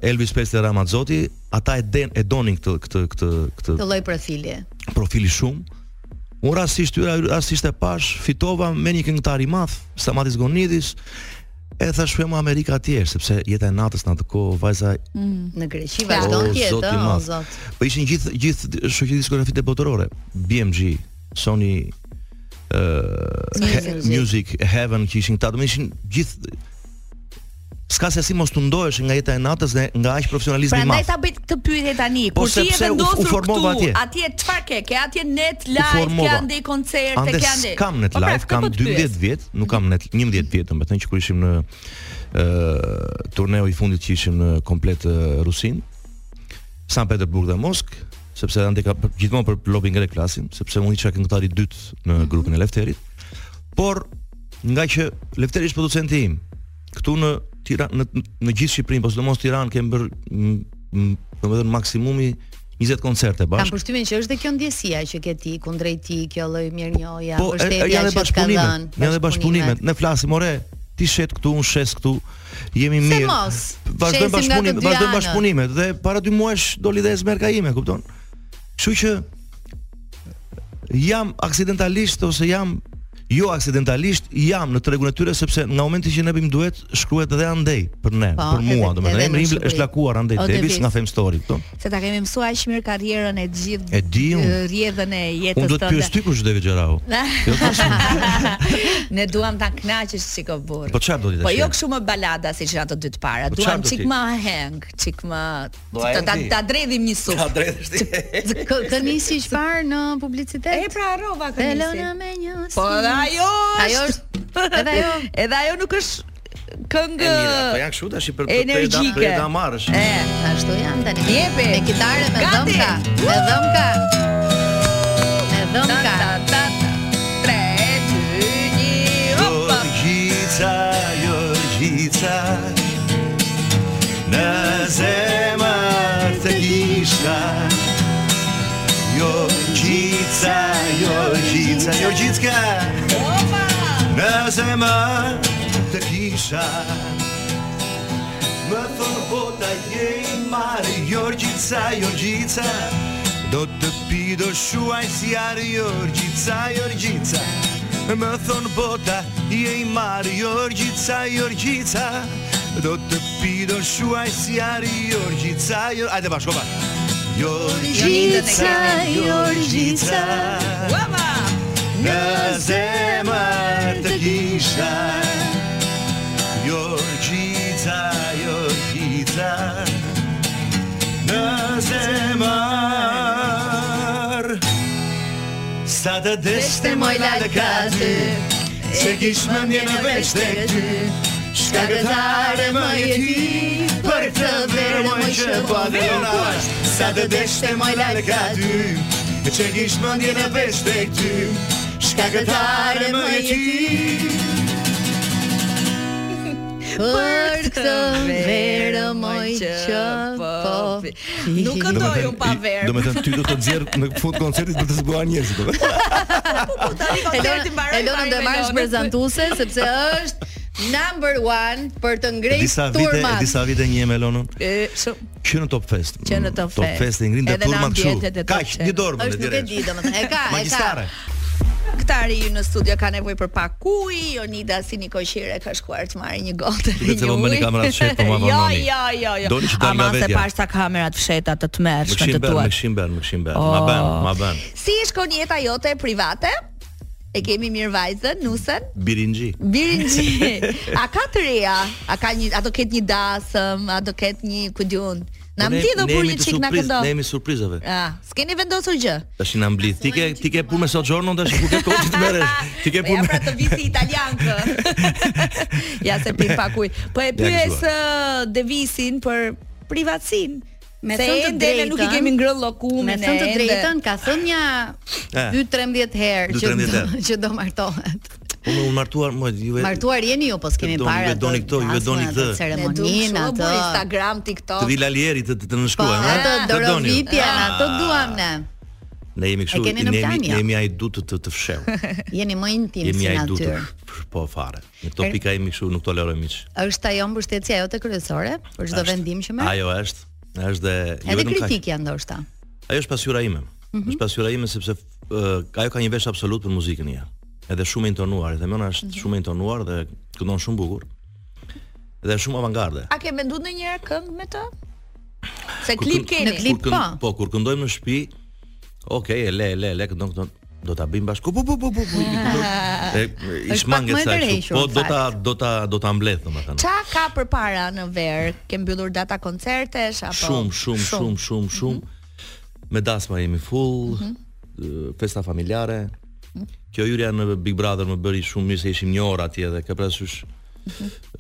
Speaker 8: Elvis Presley dhe Ramazzotti, ata e den e donin këtë këtë këtë këtë
Speaker 1: Të lloj profili.
Speaker 8: profili shumë. Unë rastisht tyra rastisht e pash, fitova me një këngëtar i madh, Samatis Gonidis, e thash shkojmë në Amerikë atje, sepse jeta e natës në atë kohë vajza
Speaker 1: Në Greqi vazhdon të jetë,
Speaker 8: i
Speaker 1: ëh, o
Speaker 8: madh.
Speaker 1: zot.
Speaker 8: Po ishin gjithë gjithë shoqëti diskografike botërore, BMG, Sony ë
Speaker 1: Music.
Speaker 8: He- Music Heaven që ishin këta, do të ishin gjithë s'ka se si mos të ndohesh nga jeta e natës dhe nga aq
Speaker 6: Pra,
Speaker 8: profesionalizmi i
Speaker 2: Prandaj
Speaker 8: madh.
Speaker 2: Pra ta bëj këtë pyetje tani,
Speaker 8: Po,
Speaker 2: kur ti je
Speaker 8: sepse u- u
Speaker 2: vendosur
Speaker 8: formova
Speaker 2: këtu,
Speaker 8: atje.
Speaker 2: atje çfarë ke? Ke atje net
Speaker 8: U
Speaker 2: live,
Speaker 8: formova.
Speaker 2: ke andej koncerte,
Speaker 8: Ande
Speaker 2: ke andej.
Speaker 8: kam net
Speaker 2: Po, pra,
Speaker 8: live,
Speaker 2: këtë
Speaker 8: kam
Speaker 2: po të pyes.
Speaker 8: 12 vjet, nuk kam net 11 vjet, domethënë që kur ishim në ë turneu i fundit që ishim në komplet ë, Rusin, San Petersburg dhe Moskë, sepse ande ka për, gjithmonë për lobbying e klasin, sepse unë isha këngëtari i dytë
Speaker 2: Mhm.
Speaker 8: në grupin e Lefterit. Por nga që Lefteri është producenti im, këtu në Tiranë në, në gjithë Shqipërinë, po sidomos Tiranë kemi bër m- m- domethënë maksimumi 20 koncerte
Speaker 1: Kam
Speaker 8: bashkë.
Speaker 1: përshtymin që është dhe kjo ndjesia që ke ti kundrejt ti, kjo lloj mirënjohja,
Speaker 8: Po, e- e-
Speaker 1: vështetja që
Speaker 8: janë dhe
Speaker 1: të ka dhënë.
Speaker 8: bashkëpunimet, janë dhe bashkëpunimet. Ne flasim, ore, ti shet këtu, unë shes këtu. Jemi
Speaker 1: Se
Speaker 8: mirë.
Speaker 1: mos,
Speaker 8: Vazhdojmë
Speaker 1: shesim nga
Speaker 8: bashkëpunimet,
Speaker 1: të dy
Speaker 8: vazhdojmë
Speaker 1: anët.
Speaker 8: bashkëpunimet dhe para dy muajsh doli dhe esmerka ime, kupton? Kështu që jam aksidentalisht ose jam jo aksidentalisht jam në tregun e tyre sepse nga momenti që ne bëjmë duet shkruhet edhe andej për ne,
Speaker 1: Po,
Speaker 8: për mua,
Speaker 1: edhe-
Speaker 8: domethënë
Speaker 1: edhe në
Speaker 8: emri im
Speaker 1: Shqipëri.
Speaker 8: është lakuar andej
Speaker 1: O,
Speaker 8: Davis
Speaker 1: Davis.
Speaker 8: nga Fame Story, kupton?
Speaker 2: Se ta kemi mësuar aq mirë karrierën e gjithë
Speaker 8: E di unë.
Speaker 2: e, rrjedhën e
Speaker 8: Unë
Speaker 2: jetës
Speaker 8: do të pyes ty kush do të xherau. Jo, tash,
Speaker 2: Ne duam ta kënaqësh çiko burr.
Speaker 8: Po çfarë do ti tash?
Speaker 2: Po jo kështu më balada siç janë të dy të para.
Speaker 8: Po
Speaker 2: Duam
Speaker 8: çfarë do
Speaker 2: çik
Speaker 8: ti?
Speaker 2: më heng, çik më
Speaker 8: Do
Speaker 2: ta ta,
Speaker 8: heng ti?
Speaker 2: ta dredhim një sup.
Speaker 8: Ta drejtësh ti.
Speaker 1: Kë kë nisi çfarë në publicitet?
Speaker 2: E pra harrova
Speaker 1: Elona
Speaker 2: kënisi.
Speaker 1: me një.
Speaker 2: Po edhe ajo
Speaker 1: Ajo është edhe ajo.
Speaker 2: Edhe ajo nuk është këngë
Speaker 8: E mira, po janë kështu tash i për për të
Speaker 2: Energjike.
Speaker 8: për ta marrësh.
Speaker 2: E,
Speaker 1: Ashtu janë tani.
Speaker 2: Jepi.
Speaker 1: Me kitare, me
Speaker 2: Gati.
Speaker 1: dhëmka, me dhëmka. Me
Speaker 2: ta
Speaker 1: dhëmka.
Speaker 2: ta ta ta. 3 2 1 Hopa.
Speaker 8: Gjorgjica, Gjorgjica Në zemër të kisha Gjorgjica, Gjorgjica Gjorgjicka Në zemër të kisha Më "Po thonë bota je i marë Gjorgjica, Gjorgjica Do të pido shuaj si arë Gjorgjica, Gjorgjica Më "Po thonë bota je i marë Gjorgjica, Gjorgjica Do të pido shuaj si arë Gjorgjica, Gjorgjica Ajde bashko ba Gjorgjica, Gjorgjica
Speaker 2: Hopa.
Speaker 8: Në zemër të kisha Gjorgjica, Gjorgjica Në zemër Sa të deshte moj lakati Se kish më ndje në veç të ty Shka këtare më je ti Për të verë moj që po adronash Sa të deshte moj lakati Që kish më ndje në veç të ty Shka këtare më je ti
Speaker 1: Për këtë verë moj që po.
Speaker 2: Nuk këndoj unë pa verë.
Speaker 8: me thënë ty do të nxjerr në fund koncertit për të zgjuar njerëzit, do të thënë.
Speaker 2: Tani koncerti
Speaker 1: Elona,
Speaker 2: mbaroi.
Speaker 1: Elona do e marrësh prezantuese sepse është number one për të
Speaker 8: Disa
Speaker 1: ngrejtë
Speaker 8: vite,
Speaker 1: turmat.
Speaker 8: disa vite një Melonën,
Speaker 2: prezantuar.
Speaker 8: që në Top Fest.
Speaker 2: Që në Top Fest.
Speaker 8: Top Fest i ngrin dhe
Speaker 2: Edhe në
Speaker 8: turma
Speaker 2: ambientet
Speaker 8: kështu.
Speaker 2: e Top
Speaker 8: Kaq,
Speaker 2: Fest.
Speaker 8: një dorë më
Speaker 1: Është nuk e di domethënë. E ka, e ka.
Speaker 8: Magjistare.
Speaker 2: Këtari ju në studio ka nevojë për pak ujë, Jonida si një koqire ka shkuar të marrë një gotë
Speaker 8: Duket se po
Speaker 2: ujë.
Speaker 8: bëni kamerat fshehtë, po ma
Speaker 2: Jo,
Speaker 8: vononi.
Speaker 2: jo, jo, jo.
Speaker 8: Doli që dal nga
Speaker 2: Ama se
Speaker 8: vetja.
Speaker 2: pash ta kamerat fshehta të
Speaker 8: Më
Speaker 2: tmerrshme
Speaker 8: këshim
Speaker 2: të
Speaker 8: bërë,
Speaker 2: tua.
Speaker 8: më këshim bërë, më këshim bërë. Ma
Speaker 2: Oh.
Speaker 8: bën, ma bën.
Speaker 2: Si shkon jeta jote private? E kemi mirë vajzën, Nusen.
Speaker 8: Birinxhi.
Speaker 2: Birinxhi. A ka të reja? A ka një a do ket një dasëm, a do ket një ku diun? Na
Speaker 8: Po Ne-
Speaker 2: mbledh
Speaker 8: ne
Speaker 2: kur
Speaker 8: jemi
Speaker 2: një
Speaker 8: të
Speaker 2: çik na
Speaker 8: surpriz-
Speaker 2: këndo.
Speaker 8: Ne jemi surprizave.
Speaker 2: Ah, s'keni vendosur gjë.
Speaker 8: Tash na mblidh. Ti ke ti ke punë me Sojourno tash ku ke kohë të merresh. Ti ke
Speaker 2: Po
Speaker 8: punë.
Speaker 2: Ja pra
Speaker 8: me-
Speaker 2: të visi italian kë. ja se pi pak ujë. Po e pyes ë, Devisin për privatsin.
Speaker 1: Me
Speaker 2: se
Speaker 1: thënë të
Speaker 2: ende ne nuk i
Speaker 1: drejtën-
Speaker 2: kemi ngrënë llokumin
Speaker 1: Me
Speaker 2: e
Speaker 1: thënë të
Speaker 2: ende.
Speaker 1: drejtën, ka thënë një
Speaker 8: Eh.
Speaker 1: 2-13 herë që
Speaker 8: 2-13
Speaker 1: do,
Speaker 8: herë.
Speaker 1: që do martohet.
Speaker 8: Po më unë martuar, më ju e
Speaker 1: Martuar jeni ju, po s'kemi
Speaker 8: Ju doni-
Speaker 1: para.
Speaker 8: ju doni këto, ju doni këtë.
Speaker 2: Ne duam
Speaker 1: ceremoninë
Speaker 2: shumë
Speaker 1: atë.
Speaker 2: për Instagram, TikTok.
Speaker 8: të vi Lalieri të të të
Speaker 1: Po,
Speaker 8: nënshkruajmë,
Speaker 1: atë
Speaker 8: ha? Të doni ju.
Speaker 1: dorovitjen,
Speaker 8: Ah.
Speaker 1: ato duam ne.
Speaker 8: Ne jemi kështu,
Speaker 1: E keni
Speaker 8: ne
Speaker 1: në
Speaker 8: jemi
Speaker 1: plan,
Speaker 8: ne
Speaker 1: ja?
Speaker 8: jemi ai dutë të të fsheu.
Speaker 1: Jeni më intim
Speaker 8: jemi
Speaker 1: si
Speaker 8: ai dutë
Speaker 1: natyrë.
Speaker 8: p- po fare. Në
Speaker 1: Er-
Speaker 8: këto pika jemi kështu nuk tolerojmë miç.
Speaker 1: Është ajo mbështetja jote kryesore për çdo vendim që merr?
Speaker 8: Ajo është, është dhe jo
Speaker 1: Edhe
Speaker 8: vetëm kaq.
Speaker 1: kritikja ndoshta.
Speaker 8: Ajo është pasjura ime.
Speaker 1: Mhm.
Speaker 8: Është pasjura ime sepse uh, ajo ka një vesh absolut për muzikën ja. Edhe shumë e intonuar, edhe mëna është
Speaker 1: Mhm.
Speaker 8: shumë e intonuar dhe këndon shumë bukur. Dhe është shumë avangarde.
Speaker 2: A ke menduar ndonjëherë këngë me të? Se
Speaker 8: Kur
Speaker 2: klip
Speaker 8: kënd-
Speaker 2: keni.
Speaker 1: Në klip-
Speaker 8: Kur kënd-
Speaker 1: po.
Speaker 8: Po, kur këndojmë në shtëpi, okay, e le, e le, e le, këndon këndon do ta bëjmë bashkë. Po po po po po. E i
Speaker 1: Është pak
Speaker 8: shmanget
Speaker 1: më e
Speaker 8: sa kështu.
Speaker 1: tërhequr,
Speaker 8: Po
Speaker 1: në
Speaker 8: do ta do ta do ta mbledh domethënë.
Speaker 2: Qa ka për para në verë? Ke mbyllur data koncertesh? Apo...
Speaker 6: Po,
Speaker 8: Shumë, shumë, shumë, shumë, shumë. Me dasma jemi full, ë, festa familjare. Kjo hyrja në Big Brother më bëri shumë mirë se ishim një orë atje dhe ka parasysh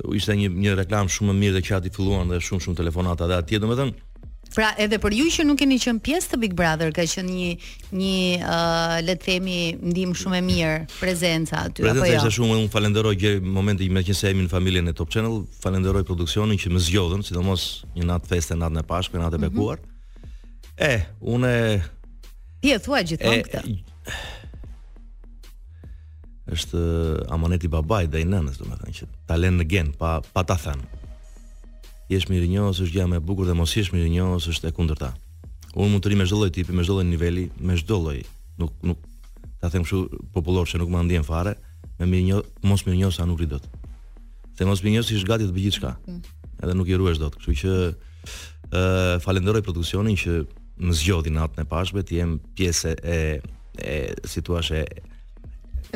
Speaker 8: u ishte një një reklam shumë e mirë dhe qati filluan dhe shumë shumë telefonata dhe atje domethënë
Speaker 1: Pra edhe për ju që nuk keni qenë pjesë të Big Brother ka qenë një një uh, le të themi ndihmë shumë e mirë prezenca aty
Speaker 8: prezenca
Speaker 1: apo
Speaker 8: ishte
Speaker 1: jo.
Speaker 8: shumë unë falenderoj gjë momenti me qenë se jemi në familjen e Top Channel, falenderoj produksionin që më zgjodhën, sidomos një natë feste, natën e Pashkës, natë e bekuar. Eh, E, unë e-
Speaker 1: Ti e thua
Speaker 8: Ε,
Speaker 1: gjithmonë këtë.
Speaker 8: është eh, amoneti babait dhe i nënës, domethënë që ta lënë në gen pa pa ta thënë. Jesh mirënjohës, është gjë më e bukur dhe mos jesh mirënjohës është e kundërta. Unë mund të ri me çdo lloj tipi, me çdo lloj niveli, me çdo lloj. Nuk nuk ta them kështu popullor që nuk ma ndjen fare, me mirënjoh mos mirënjohës sa nuk ri dot. Se mos mirënjohës ish gati të bëj gjithçka. Edhe nuk i ruhesh dot. Kështu që ë falenderoj produksionin që më zgjodhi natën e pashme, të jem pjesë e e si thua e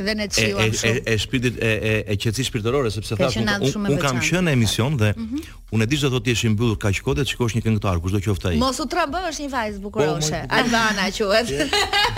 Speaker 2: Dhe në
Speaker 8: e
Speaker 2: qiuam
Speaker 8: e
Speaker 2: shumë.
Speaker 8: e shpirtit e e e qetësisë shpirtërore sepse
Speaker 1: Ka
Speaker 8: thash
Speaker 1: qenë
Speaker 8: unë
Speaker 1: natë shumë
Speaker 8: unë
Speaker 1: e
Speaker 8: un kam
Speaker 1: veçantë.
Speaker 8: qenë në emision dhe
Speaker 2: Mhm.
Speaker 8: unë e di se do të jesh i mbyllur kaq kohë dhe të shikosh një këngëtar kushdo qoftë ai.
Speaker 2: Mos u trëmbë është një vajzë
Speaker 8: Po,
Speaker 2: bukuroshe. Albana quhet.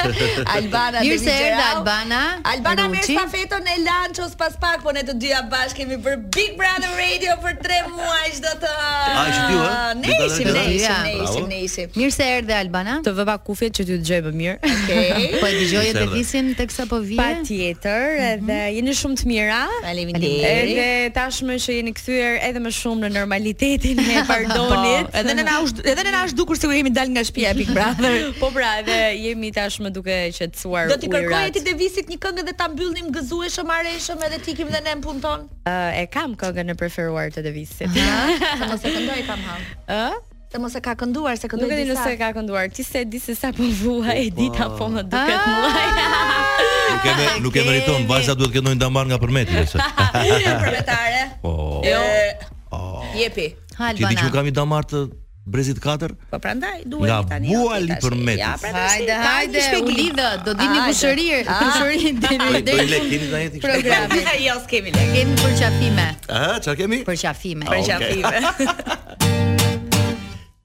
Speaker 2: Albana
Speaker 1: Mirë
Speaker 2: dhe
Speaker 1: se erdha
Speaker 2: Ligjerau.
Speaker 1: Albana.
Speaker 2: Albana merr
Speaker 1: Ruçi.
Speaker 2: stafetën e Lanços pas pak, po ne të dyja bashkë kemi për Big Brother Radio për 3 muaj çdo të.
Speaker 8: A, ishit ju, ha?
Speaker 2: Ah, Ne
Speaker 8: Big Brother
Speaker 2: ishim, ne
Speaker 1: Radio?
Speaker 2: ishim, ne
Speaker 8: Bravo.
Speaker 2: ishim, ne ishim.
Speaker 1: Mirë se erdhe Albana.
Speaker 10: Të vëva kufjet që ty të gjej më mirë.
Speaker 2: Okej.
Speaker 1: Po e dëgjoj
Speaker 8: Mirë se
Speaker 1: të
Speaker 8: erdhe.
Speaker 1: visin teksa po vije.
Speaker 10: Patjetër,
Speaker 2: mhm.
Speaker 10: edhe jeni shumë të mira.
Speaker 2: Faleminderit.
Speaker 10: Edhe tashmë që jeni kthyer edhe më shumë në normalitetin e pardonit.
Speaker 2: Po, edhe ne na ush- edhe ne na është dukur sikur jemi dal nga shtëpia Big Brother.
Speaker 10: Po pra, edhe jemi tashmë duke qetësuar
Speaker 2: Do t'i kërkoj
Speaker 10: ujërat.
Speaker 2: ti Devisit një këngë dhe ta mbyllnim gëzueshëm, areshëm edhe tikim dhe ne në punë tonë.
Speaker 10: Ë, e kam këngën e preferuar të Devisit.
Speaker 2: Se mos e këndoj kam hall.
Speaker 10: Ë?
Speaker 2: Se mos e ka kënduar, se këndoj
Speaker 10: Nuk e di
Speaker 2: disa.
Speaker 10: nëse ka kënduar. Ti se di se sa po vuaj e dita po më
Speaker 1: Ah,
Speaker 10: duket muaj.
Speaker 8: Nuk e
Speaker 2: Ah,
Speaker 8: me- nuk e meriton, vajza duhet të ketë ndonjë damar nga përmeti ose.
Speaker 2: Përmetare.
Speaker 8: Po.
Speaker 2: Jo. Jepi.
Speaker 1: Ha
Speaker 8: Ti di që
Speaker 1: Albana.
Speaker 8: kam i damar të Brezit 4?
Speaker 2: Po prandaj
Speaker 8: Nga
Speaker 2: duhet tani.
Speaker 8: buali
Speaker 2: tash.
Speaker 8: përmetit.
Speaker 2: Ja, pra- prandaj.
Speaker 1: Hajde,
Speaker 2: ka një
Speaker 1: hajde, u
Speaker 2: shpjegim.
Speaker 1: lidhë, do dini
Speaker 2: Hajde.
Speaker 1: kushërir, kushërin
Speaker 8: Po
Speaker 1: deri
Speaker 8: i- po i
Speaker 1: deri
Speaker 8: le keni tani ti. kështu?
Speaker 1: programit.
Speaker 2: jo, s'kemi lek.
Speaker 1: Kemi përqafime,
Speaker 8: Ah, çfarë kemi?
Speaker 1: përqafime.
Speaker 2: Për qafime.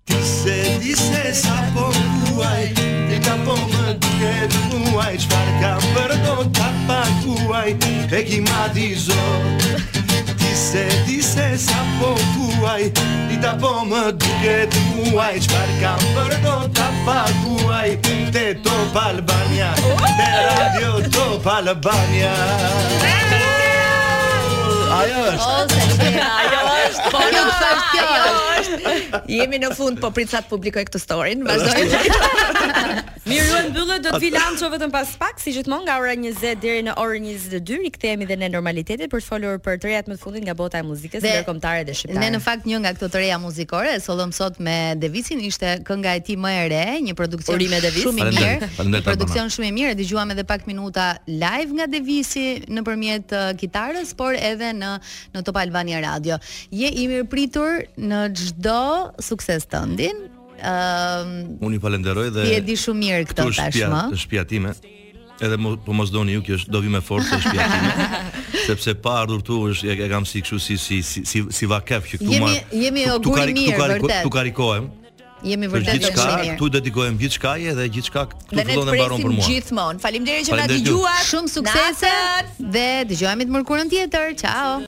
Speaker 9: Ti se di se sa po kuaj Ti ka po më duket muaj Qfar ka përdo ka pakuaj E ki mati zot Ti se di se sa po kuaj Ti ta po më duket muaj Qfar ka përdo ka pakuaj Te Top Albania Te Radio Top Albania
Speaker 8: Ajo është.
Speaker 1: Ose që ajo është, po kjo të thash kjo është.
Speaker 2: Jemi në fund, po prit sa të publikoj këtë storin. Vazhdoj.
Speaker 10: Miru e mbyllet do të vi lanço vetëm pas pak, si gjithmonë nga ora 20 deri në orën 22 rikthehemi dhe në normalitetin për të folur për të rejat më të fundit nga bota e muzikës
Speaker 1: Dhe-
Speaker 10: ndërkombëtare dhe shqiptare.
Speaker 1: Ne në fakt një nga këto të reja muzikore e sollëm sot me Devisin, ishte kënga e tij më e re, një produksion
Speaker 10: Urime Devis.
Speaker 1: shumë i
Speaker 8: Faleminderit,
Speaker 1: mirë, një
Speaker 8: faleminderit,
Speaker 1: produksion shumë i mirë, e dëgjuam edhe pak minuta live nga Devisi nëpërmjet uh, kitarës, por edhe në në Top Albania Radio. Je i mirëpritur në çdo sukses tëndin. Ëm
Speaker 8: Unë ju falenderoj dhe
Speaker 1: ti e di shumë mirë këtë
Speaker 8: Këtu është shtëpia,
Speaker 1: tashmë.
Speaker 8: është shtëpia time. Edhe mo, po mos doni ju, kjo është do vi me forcë është shtëpia time. sepse pa ardhur tu është e, e kam si kështu si si si si, si vakef që këtu
Speaker 1: Jemi-
Speaker 8: marr.
Speaker 1: jemi
Speaker 8: tu-
Speaker 1: o
Speaker 8: tu
Speaker 1: guri
Speaker 8: kari- tu
Speaker 1: mirë,
Speaker 8: kari-
Speaker 1: vërtet.
Speaker 8: Tu karikohem
Speaker 1: Jemi
Speaker 8: për
Speaker 1: vërtet
Speaker 8: gjithçka,
Speaker 1: shumë i mirë.
Speaker 8: tu dedikohem gjithçka dhe gjithçka këtu
Speaker 2: Dhe ne të
Speaker 8: fillon dhe mbaron për
Speaker 2: presim
Speaker 8: mua.
Speaker 2: gjithmonë. Faleminderit që na
Speaker 8: Faleminderit ju.
Speaker 2: dëgjuat.
Speaker 1: Shumë suksese
Speaker 2: Natën.
Speaker 1: dhe dëgjohemi të mërkurën tjetër. Ciao.